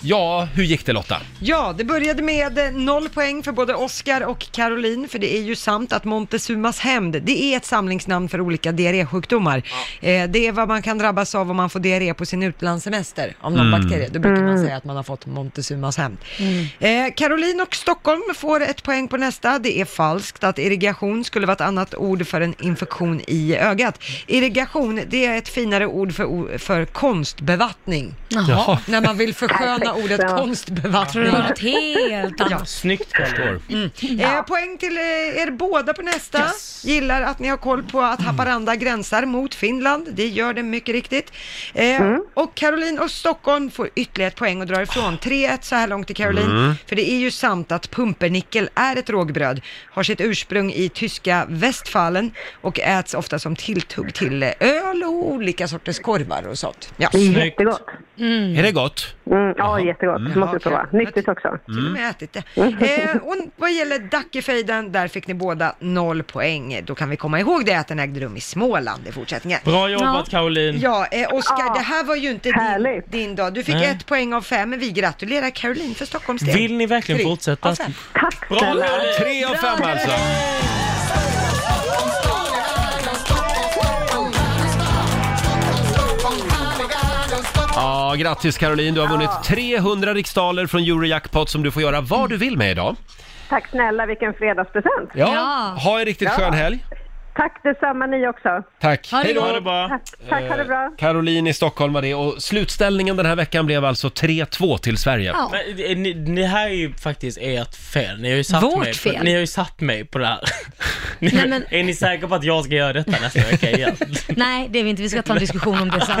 Ja, hur gick det Lotta? Ja, det började med eh, noll poäng för både Oscar och Caroline, för det är ju sant att Montezumas hämnd, det är ett samlingsnamn för olika diarrésjukdomar. Eh, det är vad man kan drabbas av om man får diarré på sin utlandssemester, av någon Mm. bakterie. Då brukar man Mm. säga att man har fått Montezumas hämnd. Mm. Eh, Caroline och Stockholm får ett poäng på nästa. Det är falskt att irrigation skulle vara ett annat ord för en infektion i ögat. Irrigation, det är ett finare ord för, o- för konstbevattning. Jaha. När man vill försköna Perfekt, ordet ja. konstbevattning. Tror det var något helt annat. Snyggt Kalle. Mm. Eh, poäng till eh, er båda på nästa. Gillar att ni har koll på att Haparanda gränsar mot Finland. Det gör det mycket riktigt. Eh, Och Caroline och Stockholm får ytterligare ett poäng och drar ifrån. 3-1 så här långt till Caroline. Mm. För det är ju sant att pumpernickel är ett rågbröd, har sitt ursprung i tyska Westfalen och äts ofta som tilltugg till eh, öl och olika sorters korvar och sånt. Ja. Jättegott. Är det gott? Mm, ja, jättegott. Mm. Måste du prova. Nyttigt också. till och med ätit det. [laughs] Eh, och vad gäller Dackefejden, där fick ni båda noll poäng. Då kan vi komma ihåg det att den ägde rum i Småland i fortsättningen. Bra jobbat Caroline. Ja, eh, Ah, Oskar, det här var ju inte din, din dag. Du fick Nej. ett poäng av fem, men vi gratulerar Caroline för Stockholms del. Vill ni verkligen Tre fortsätta? av fem. Tack Bra Caroline! Tre av fem alltså. Ja, grattis Caroline, du har vunnit 300 riksdaler från Eurojackpot som du får göra vad du vill med idag. Tack snälla, vilken fredagspresent. Ja, ha en riktigt skön helg. Tack detsamma ni också. Tack. Hej då. Eh, Tack, tack, ha det bra. Caroline i Stockholm var det och slutställningen den här veckan blev alltså 3-2 till Sverige. Men, eh, ni, ni här är ju faktiskt ert fel. Ni har ju satt Vårt mig fel. På, ni har ju satt mig på det här. Ni, [laughs] Är ni säkra på att jag ska göra detta nästa vecka igen? Nej, det är vi inte. Vi ska ta en diskussion om det sen.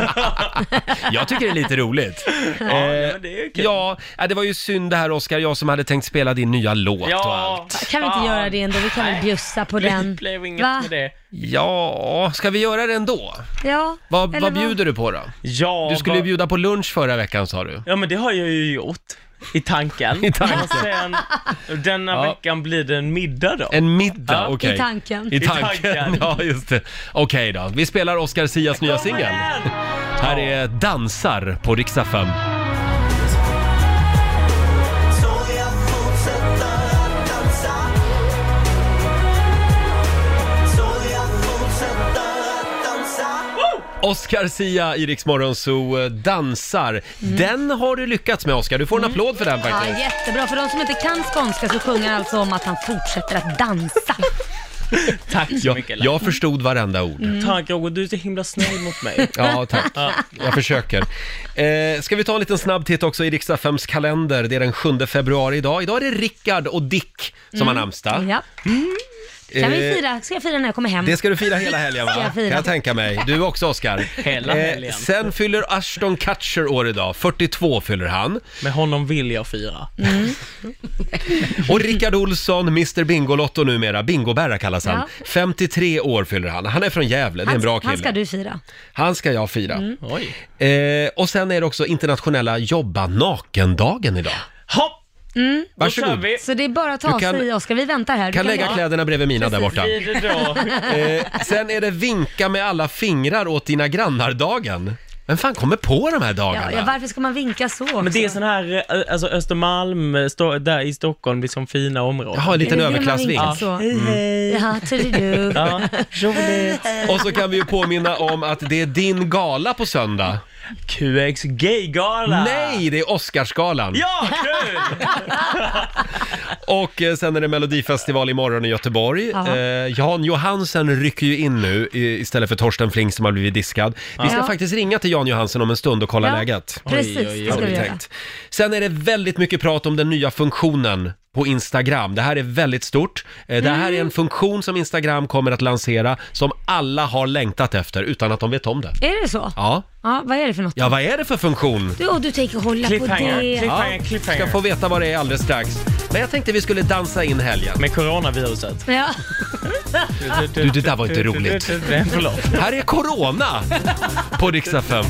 Jag tycker det är lite roligt. [laughs] ja, det är ja, äh, det var ju synd det här Oscar, jag som hade tänkt spela din nya låt och allt. Kan vi inte göra det ändå? Vi kan väl bjussa på den? Det blev inget Va? med det. Ja, ska vi göra det ändå? Ja. Vad, eller vad bjuder du på då? Ja, du skulle ju vad- bjuda på lunch förra veckan sa du. Ja men det har jag ju gjort. I tanken. [laughs] I tanken. Och sen, denna Ja. veckan blir det en middag då. En middag, Ja. okej. I tanken. I I tanken. tanken. ja just det. Okej då, vi spelar Oscar Sias nya singel. Här är Dansar på riksdag 5. Oscar Sia i Rix Morgon Zoo eh, dansar. Den har du lyckats med Oscar, du får en applåd för den Mm. Ja, faktiskt. jättebra. För de som inte kan skånska så sjunger han alltså om att han fortsätter att dansa. Tack så Jag, mycket. Laila. jag förstod varenda ord. Mm. Mm. Tack Roger, du är så himla snäll mot mig. [laughs] Ja, tack. Jag försöker. Eh, ska vi ta en liten snabb titt också i Riks-FMs kalender? Det är den 7 februari idag. Idag är det Rickard och Dick som har namnsdag. Mm. Ja. Kan vi Eh, fira? Ska jag fira när jag kommer hem? Det ska du fira hela helgen va? Ska jag fira. Kan jag tänka mig. Du också Oscar. Eh, Hela helgen. sen fyller Ashton Kutcher år idag. 42 fyller han. Med honom vill jag fira. Mm. Och Rickard Olsson, Mr Bingolotto numera, Bingobära kallas han. Ja. 53 år fyller han. Han är från Gävle, det är en bra kille. Han ska du fira. Han ska jag fira. Mm. Eh, och sen är det också internationella jobba nakendagen idag. Hopp! Mm. Varsågod. Då kör vi. Så det är bara att Du ta kan- sig i, Oskar. Vi väntar här. Du Kan lägga bara- kläderna bredvid mina där borta. Blir det då? [laughs] Eh, sen är det vinka med alla fingrar åt dina grannar-dagen. Vem fan kommer på de här dagarna? Ja, ja, varför ska man vinka så också? Men det är sån här, eh, alltså Östermalm, eh, Sto- där i Stockholm, blir som fina områden. Jaha, en liten Är det det man överklassvink. Mm. vinkar så? Ja, turidu. Ja, roligt. [laughs] Och så kan vi ju påminna om att det är din gala på söndag. QX Gaygala! Nej, det är Oscarsgalan! Ja, kul! [laughs] Och eh, sen är det Melodifestival imorgon i Göteborg. Ja. Eh, Jan Johansen rycker ju in nu i- istället för Torsten Flink som har blivit diskad. Vi ska Ja. faktiskt ringa till Jan Johansen om en stund och kolla Ja, läget. precis, Oj, oj, oj. det ska Hade vi göra. tänkt. Sen är det väldigt mycket prat om den nya funktionen på Instagram. Det här är väldigt stort. Eh, Det här är en funktion som Instagram kommer att lansera som alla har längtat efter utan att de vet om det. Är det så? Ja, Ja, vad är det för något? ja vad är det för funktion? Du, och du tänker hålla på Cliffhanger, det. cliffhanger, Ska cliffhanger. få veta vad det är alldeles strax. Men jag tänkte vi skulle dansa in helgen. Med coronaviruset. Ja. Du, det där var inte roligt. Nej, förlåt. Här är Corona på riksdag 5.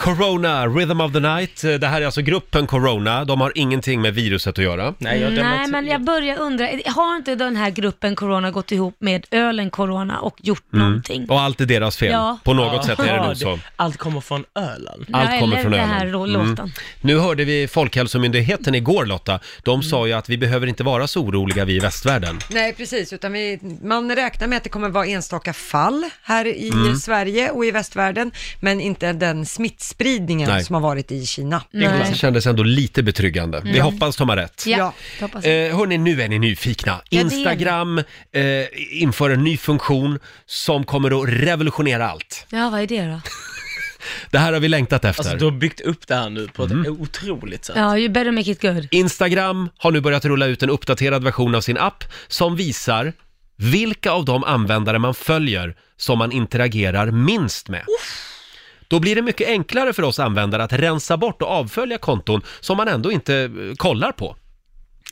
Corona, Rhythm of the Night. Det här är alltså gruppen Corona. De har ingenting med viruset att göra. Nej, jag dömer Nej, inte. men jag börjar undra. Har inte den här gruppen corona gått ihop med ölen corona och gjort någonting? Och allt är deras Mm, fel. Ja. På något sätt är det Ja, nog så. Allt kommer från Öland. Ja, Allt kommer eller från det ölen. Mm. här då, låten. Nu hörde vi Folkhälsomyndigheten igår Lotta. De sa ju att vi behöver inte vara så oroliga vi i västvärlden. Nej, precis, utan vi, man räknar med att det kommer vara enstaka fall här i Mm. Sverige och i västvärlden, men inte den smittspridningen Nej. som har varit i Kina. Nej. Det kändes ändå lite betryggande. Vi hoppas de har rätt. Ja, Ja. det hoppas jag. Eh, hörni, nu är ni nyfikna. Ja, det är Instagram eh, inför en ny funktion som kommer att revolutionera allt. Ja, vad är det då? Det här har vi längtat efter. Alltså du har byggt upp det här nu på ett otroligt sätt. Ja, you better make it good. Instagram har nu börjat rulla ut en uppdaterad version av sin app som visar vilka av de användare man följer som man interagerar minst med. Då blir det mycket enklare för oss användare att rensa bort och avfölja konton som man ändå inte eh, kollar på.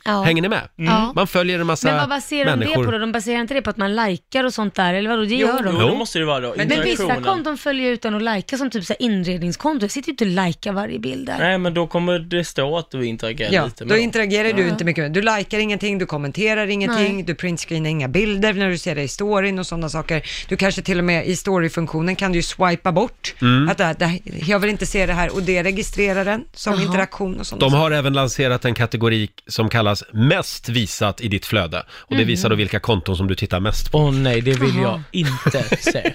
Ja. Mm. Hänger ni med? Ja. Man följer en Men massa vad baserar de det människor. på då? De baserar inte det på att man likar och sånt där, eller vadå? Det Jo, gör de. jo, det måste det vara då. Men vissa Interaktionen. konton följer jag utan att lajka, som typ så här inredningskonto. Jag sitter ju inte och likar varje bild där. Nej, men då kommer det stå att du interagerar Ja, lite då med interagerar du inte mycket med. Du likar ingenting, du kommenterar ingenting, Nej. du printscreenar inga bilder när du ser det i storyn och sådana saker. Du kanske till och med i storyfunktionen kan du ju swipa bort. Mm. Att det här, det här, jag vill inte se det här och det registrerar den som Jaha. interaktion och sådana De saker. har även lanserat en kategori som kallas mest visat i ditt flöde. Och Mhm. det visar då vilka konton som du tittar mest på. Åh nej, det vill jag Jaha. inte se.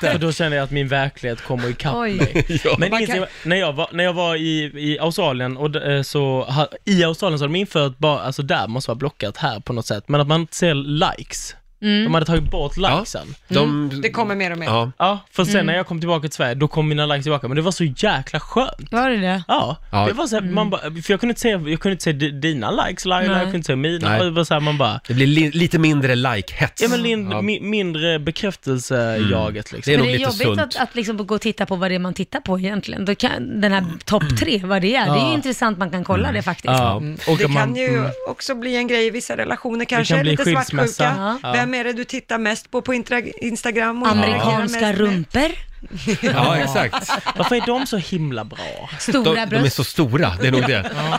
För då känner jag att min verklighet kommer ikapp Oj. [laughs] mig. Men Man ingenting- kan- när, jag var, när jag var i, i Australien, och d- eh, så, ha- i Australien så hade de infört bara, alltså där måste vara blockat här på något sätt, men att man inte ser likes. Mm. De Mm. hade tagit bort likesen. Ja. De... Det kommer mer och mer. Ja, för sen när jag kom tillbaka till Sverige, då kom mina likes tillbaka, men det var så jäkla skönt. Var det det? Ja, Ja. det var så här, man bara, för jag kunde inte se, jag kunde inte se di- dina likes Laila, Nej. jag kunde inte se mina, Nej. och det var så här, man bara, det blir li- lite mindre like-hets. Mm. ja men lind, mi, mindre bekräftelse-jaget liksom. Det är Men nog det är lite jobbigt sunt. att, att liksom gå och titta på vad det är man tittar på egentligen. Då kan, den här topp Mm. tre, vad det är. Det är ju intressant, man kan kolla det faktiskt. Mm. Ja. Och Mm. Det att man- mm. kan ju Mm. också bli en grej i vissa relationer kanske, kan bli lite skilsmässa. svartsjuka. Ja. Vem är det du tittar mest på på intra- Instagram? och Amerikanska interagerar mest med? rumpor, [laughs] Ja, exakt. Varför är de så himla bra? De, stora de är bröst. så stora, det [laughs] är nog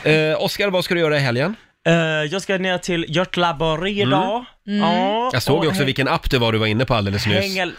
det. Eh, Oskar, vad ska du göra i helgen? Eh, jag ska ner till Hjörtlaborg idag. Ja, Mm. Jag såg och Mm. ju också hä- vilken app det var du var inne på alldeles nyss. hänger-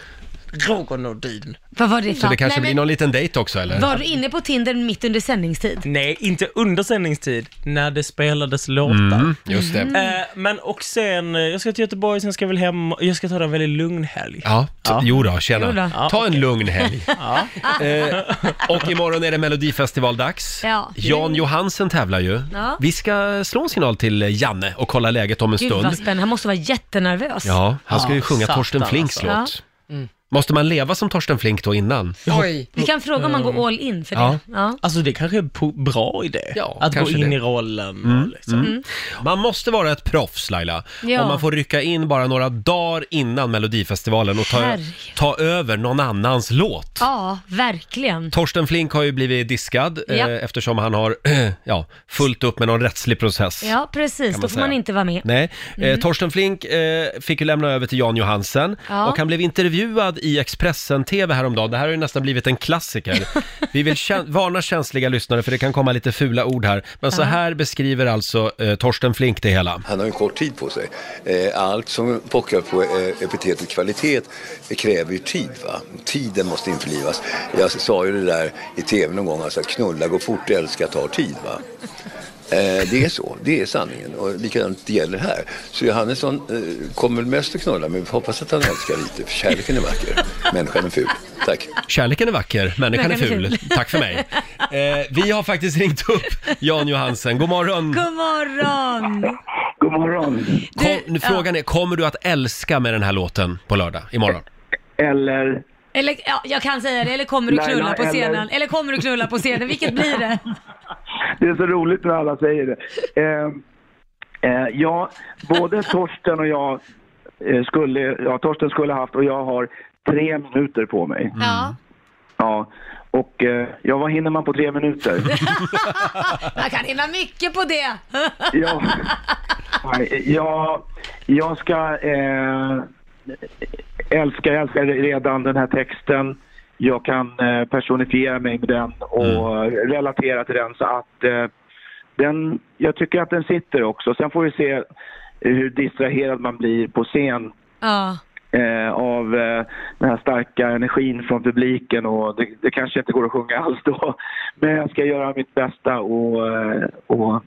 Roger Nordin. Vad var det för? Så det kanske Nej, blir men- någon liten dejt också eller? Var du inne på Tinder mitt under sändningstid? Nej, inte under sändningstid, när det spelades låtar. Mm, just det. Eh, men och sen, eh, jag ska till Göteborg, sen ska jag väl hem, jag ska ta en väldigt lugn helg. Ja, t- jo då, tjena. Jo då. Ja, Ta en okej. lugn helg. [laughs] Ja. eh, och imorgon är det Melodifestivaldags. Ja. Jan Johansen tävlar ju. Ja. Vi ska slå en signal till eh, Janne och kolla läget om en Gud stund. vad spännande, han måste vara jättenervös. Ja, han ska ju sjunga Torsten Alltså. Flinks alltså. låt. Måste man leva som Torsten Flink då innan? Oj. Vi kan fråga om man går all in för Ja. det. Ja. Alltså det kanske är en po- bra idé. Ja, att gå kanske in det. i rollen. Mm, Liksom. mm. Mm. Man måste vara ett proffs Laila, Ja. om man får rycka in bara några dagar innan Melodifestivalen och ta, Herregud. ta över någon annans låt. ja, verkligen. Torsten Flink har ju blivit diskad Ja. eh, eftersom han har [clears throat] ja, fullt upp med någon rättslig process. Ja, precis. Kan Då man får man säga. inte vara med. Nej, eh, Mm. Torsten Flink eh, fick ju lämna över till Jan Johansen Ja. och han blev intervjuad i Expressen-TV häromdagen. Det här har ju nästan blivit en klassiker. Vi vill kä- varna känsliga lyssnare för det kan komma lite fula ord här. Men så Ja. här beskriver alltså eh, Torsten Flink det hela. Han har en kort tid på sig. Eh, Allt som pockar på eh, epitetet kvalitet kräver ju tid. Va? Tiden måste införlivas. Jag sa ju det där i tv någon gång, alltså att knulla går fort, älska tar tid. Va? Eh, Det är så, det är sanningen och likadant gäller här. Så Johannesson eh, kommer mest att knulla men vi hoppas att han älskar lite för kärleken är vacker, människan är ful. Tack. Kärleken är vacker, människan är ful. [laughs] Tack [laughs] för mig. Eh, vi har faktiskt ringt upp Jan Johansen. God morgon! God morgon! God morgon! Kom, nu, frågan är, kommer du att älska med den här låten på lördag, imorgon? Eller? Eller, ja, jag kan säga det, eller kommer du Laila, knulla på eller- scenen? Eller, kommer du knulla på scenen? Vilket blir det? Det är så roligt när alla säger det. Eh, eh, ja, både Torsten och jag eh, skulle, ja, Torsten skulle haft och jag har tre minuter på mig. Ja. Ja, och eh, ja, vad hinner man på tre minuter? Man kan hinna mycket på det. ja, nej, jag, jag ska eh, älska, jag älskar redan den här texten. Jag kan eh, personifiera mig med den och relatera till den så att eh, den, jag tycker att den sitter också. Sen får vi se hur distraherad man blir på scen [laughs] Ja. eh, av eh, den här starka energin från publiken och det, det kanske inte går att sjunga alls då. [laughs] Men jag ska göra mitt bästa och, eh, och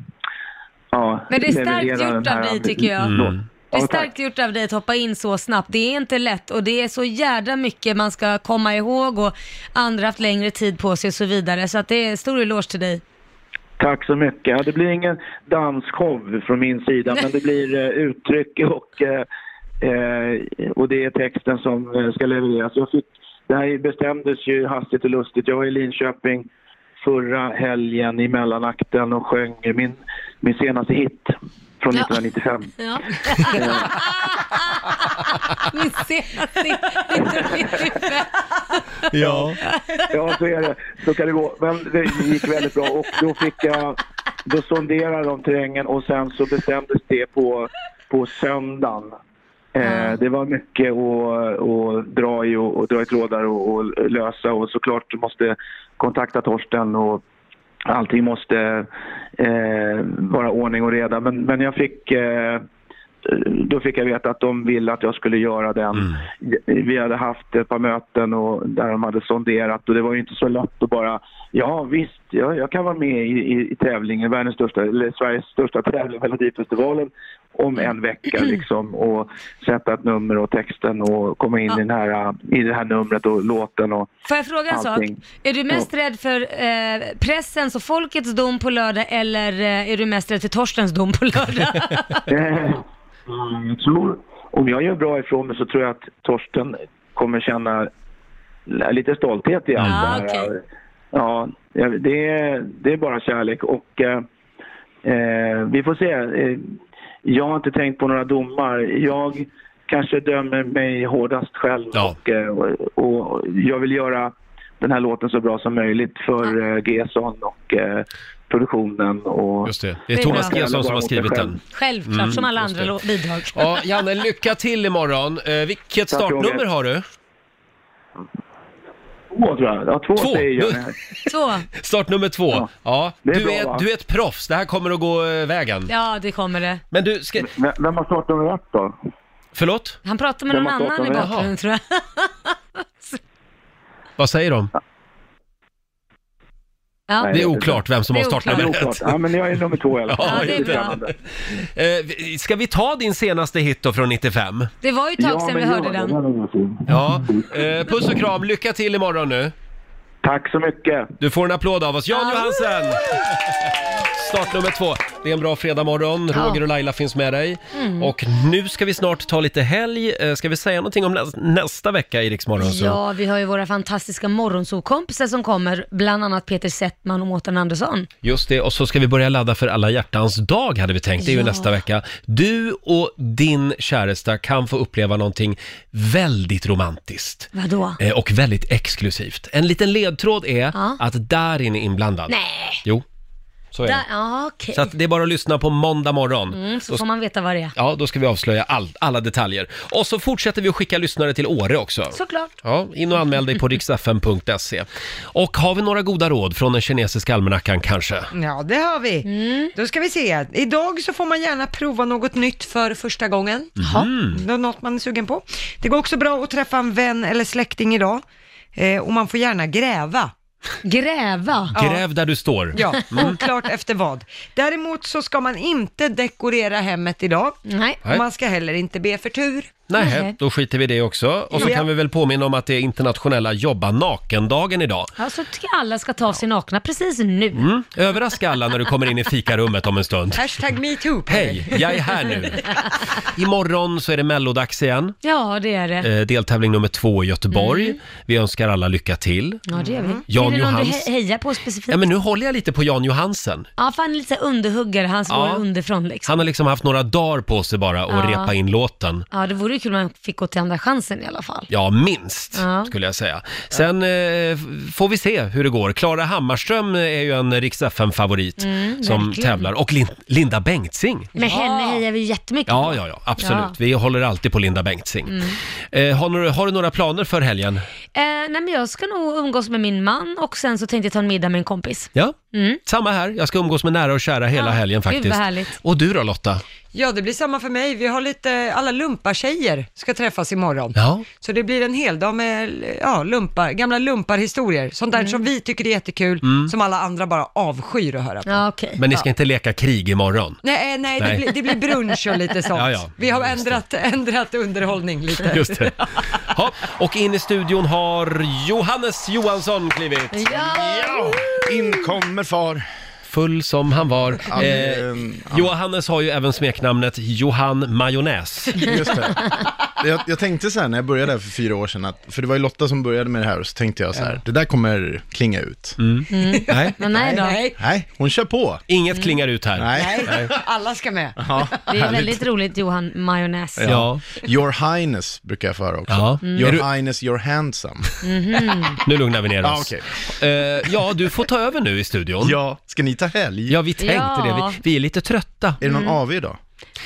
ja, Men det är starkt leverera gjort den här av dig, tycker jag. låten. Mm. Det Ja, är tack. starkt gjort av dig att hoppa in så snabbt. Det är inte lätt och det är så jädra mycket man ska komma ihåg och andra haft längre tid på sig och så vidare. Så att det är stor eloge till dig. Tack så mycket. Ja, Det blir ingen dansshow från min sida, men det blir eh, uttryck och, eh, eh, och det är texten som eh, ska levereras. Jag fick, det här bestämdes ju hastigt och lustigt. Jag var i Linköping förra helgen i mellanakten och sjöng min, min senaste hit från 1995. Ja. Min senaste 1995. Ja. ja, så är det. Så kan det gå. Men det gick väldigt bra och då fick jag, då sonderade de terrängen och sen så bestämdes det på, på söndagen. Eh, det var mycket att att dra i och, och dra i trådar och, och lösa och såklart måste kontakta Torsten och allting måste eh, vara ordning och reda. Men, men jag fick eh, då fick jag veta att de ville att jag skulle göra den. Vi hade haft ett par möten och där de hade sonderat och det var ju inte så lätt att bara, ja visst, jag, jag kan vara med i, i, i tävlingen, världens största, eller Sveriges största tävling, Melodifestivalen, om en vecka liksom och sätta ett nummer och texten och komma in i, den här, äh, i det här numret och låten och Får jag fråga en allting. sak? Är du mest rädd för eh, pressens och folkets dom på lördag eller eh, är du mest rädd för Torstens dom på [laughs] lördag? Eh, jag tror, om jag gör bra ifrån mig så tror jag att Torsten kommer känna lite stolthet i allt Ja, det här. Ja, det är, det är bara kärlek och eh, eh, vi får se. Eh, Jag har inte tänkt på några domar. Jag kanske dömer mig hårdast själv och, eh, och, och jag vill göra den här låten så bra som möjligt för eh, Gesson och eh, produktionen och... Just det. Det är Thomas Gesson som har skrivit den. Självklart, Mm, som alla just andra det. lo- bidrag. Ja, Janne, lycka till imorgon. Eh, Tack, vilket startnummer Roger. har du? Två tror jag. Ja, två, Två. säger jag. här. Två. Startnummer två. Ja, är du, bra, är, va? du är ett proffs. Det här kommer att gå eh, vägen. Ja, det kommer det. Men du, ska... Vem har startnummer ett då? Förlåt? Han pratar med Vem någon har pratat annan i med- bakgrunden tror jag. Vad säger de? Ja. Det är oklart vem som har Det är startnumret. oklart. Ja, men jag är nummer två i alla fall. [laughs] Ja, det är bra. Spännande. Eh, vi- Ska vi ta din senaste hit då från 95? Det var ju ett tag sedan vi hörde den. Ja, eh, puss och kram. Lycka till imorgon nu. Tack så mycket. Du får en applåd av oss. Jan Johansen! Start nummer två. Det är en bra fredagmorgon. Ja. Roger och Laila finns med dig. Mm. Och nu ska vi snart ta lite helg. Eh, Ska vi säga någonting om nä- nästa vecka i Rix Morgon? så? Ja, vi har ju våra fantastiska morgonsokompisar som kommer, bland annat Peter Settman och Mårten Andersson. Just det, och så ska vi börja ladda för alla hjärtans dag hade vi tänkt. Det är ju Ja. nästa vecka. Du och din käresta kan få uppleva någonting väldigt romantiskt. Vadå? Eh, Och väldigt exklusivt. En liten ledtråd är Ja. att Darin är inblandad. Nej! Jo, så är det. Där, ja, okej. Så att det är bara att lyssna på måndag morgon. Mm, så Då- får man veta vad det är. Ja, då ska vi avslöja all, alla detaljer. Och så fortsätter vi att skicka lyssnare till Åre också. Såklart. Ja, in och [laughs] anmäl dig på riksfm.se. Och har vi några goda råd från den kinesiska almanackan kanske? Ja, det har vi. Mm. Då ska vi se. Idag så får man gärna prova något nytt för första gången. Mhm. Nå- Något man är sugen på. Det går också bra att träffa en vän eller släkting idag. Eh, och man får gärna gräva. Gräva? Gräv där du står. Ja, Mm. oklart efter vad. Däremot så ska man inte dekorera hemmet idag. Nej. Nej. Man ska heller inte be för tur. Nej, då skiter vi i det också. Och så Ja. kan vi väl påminna om att det är internationella jobba naken-dagen idag. Ja, så tycker jag alla ska ta av sig nakna precis nu. Mm. Överraska alla när du kommer in i fikarummet om en stund. Hashtag metoo. Hej, jag är här nu. Imorgon så är det mellodags igen. [laughs] Ja, det är det. Eh, deltävling nummer två i Göteborg. Vi önskar alla lycka till. Mm. Ja, det gör vi. Jan är det någon du Johans. he- hejar på specifikt? Ja, men nu håller jag lite på Jan Johansen. Ja, för han är lite så här underhuggare, han slår Ja. underifrån liksom. Han har liksom haft några dagar på sig bara att Ja. repa in låten. Ja, det vore ju kul om han fick gå till Andra chansen i alla fall. Ja, minst Ja. skulle jag säga. Sen eh, f- får vi se hur det går. Klara Hammarström eh, är ju en riks favorit Mm, som verkligen. tävlar. Och Lin- Linda Bengtzing. Med henne hejar vi ju jättemycket Ja, på. ja, ja, absolut. Ja. Vi håller alltid på Linda Bengtzing. Mm. Eh, har, du, har du några planer för helgen? Eh, nej, men jag ska nog umgås med min man och sen så tänkte jag ta en middag med en kompis. Ja, Mm. samma här. Jag ska umgås med nära och kära hela Ja, helgen gud vad faktiskt. härligt. Och du då Lotta? Ja, det blir samma för mig. Vi har lite, alla lumpartjejer ska träffas imorgon. Ja. Så det blir en hel dag med ja, lumpar, gamla lumparhistorier. Sånt där Mm. som vi tycker är jättekul, Mm. som alla andra bara avskyr att höra på. Ja, okay. Men ni ska inte leka [laughs] krig imorgon? Nej, nej, Nej. Det, blir, det blir brunch och [laughs] lite sånt. Ja, ja. Vi har ändrat, [laughs] ändrat underhållning lite. Just det. Ja, och in i studion har Johannes Johansson klivit. Ja! In kommer far. Full som han var. Ja, Eh, eh, Johannes har ju även smeknamnet Johan Majonnäs. Just det. Jag, jag tänkte så här när jag började här för fyra år sedan, att, för det var ju Lotta som började med det här och så tänkte jag så här, det där kommer klinga ut. Mm. Nej. Men nej då. Mm. Nej, hon kör på. Inget klingar ut här. Nej. Nej. Alla ska med. Ja, Det är härligt. väldigt roligt Johan Majonnäs. Your Highness brukar jag få höra också. Ja. Mm. Your Är du- Highness, you're handsome. Mhm. Nu lugnar vi ner Ja, oss. Eh, ja, du får ta över nu i studion. Ja, ska ni ta helg? Ja, vi tänkte Ja. det. Vi, vi är lite trötta. Är det någon Mm. AV idag?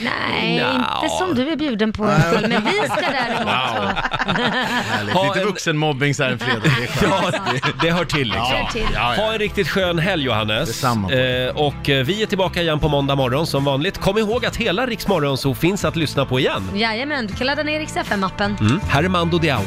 Nej, Nja. inte som du är bjuden på i alla fall, men vi ska däremot. Wow. Härligt. Ha Lite en- vuxenmobbing så här en fredag. Det är skönt. Ja, det- det hör till liksom. Det hör till. Ja, ja. Ha en riktigt skön helg Johannes. Detsamma. Eh, och eh, vi är tillbaka igen på måndag morgon som vanligt. Kom ihåg att hela Rix Morgon Zoo finns att lyssna på igen. Jajamän, du kan ladda ner Rix FM-appen. Mm. Här är Mando Diao.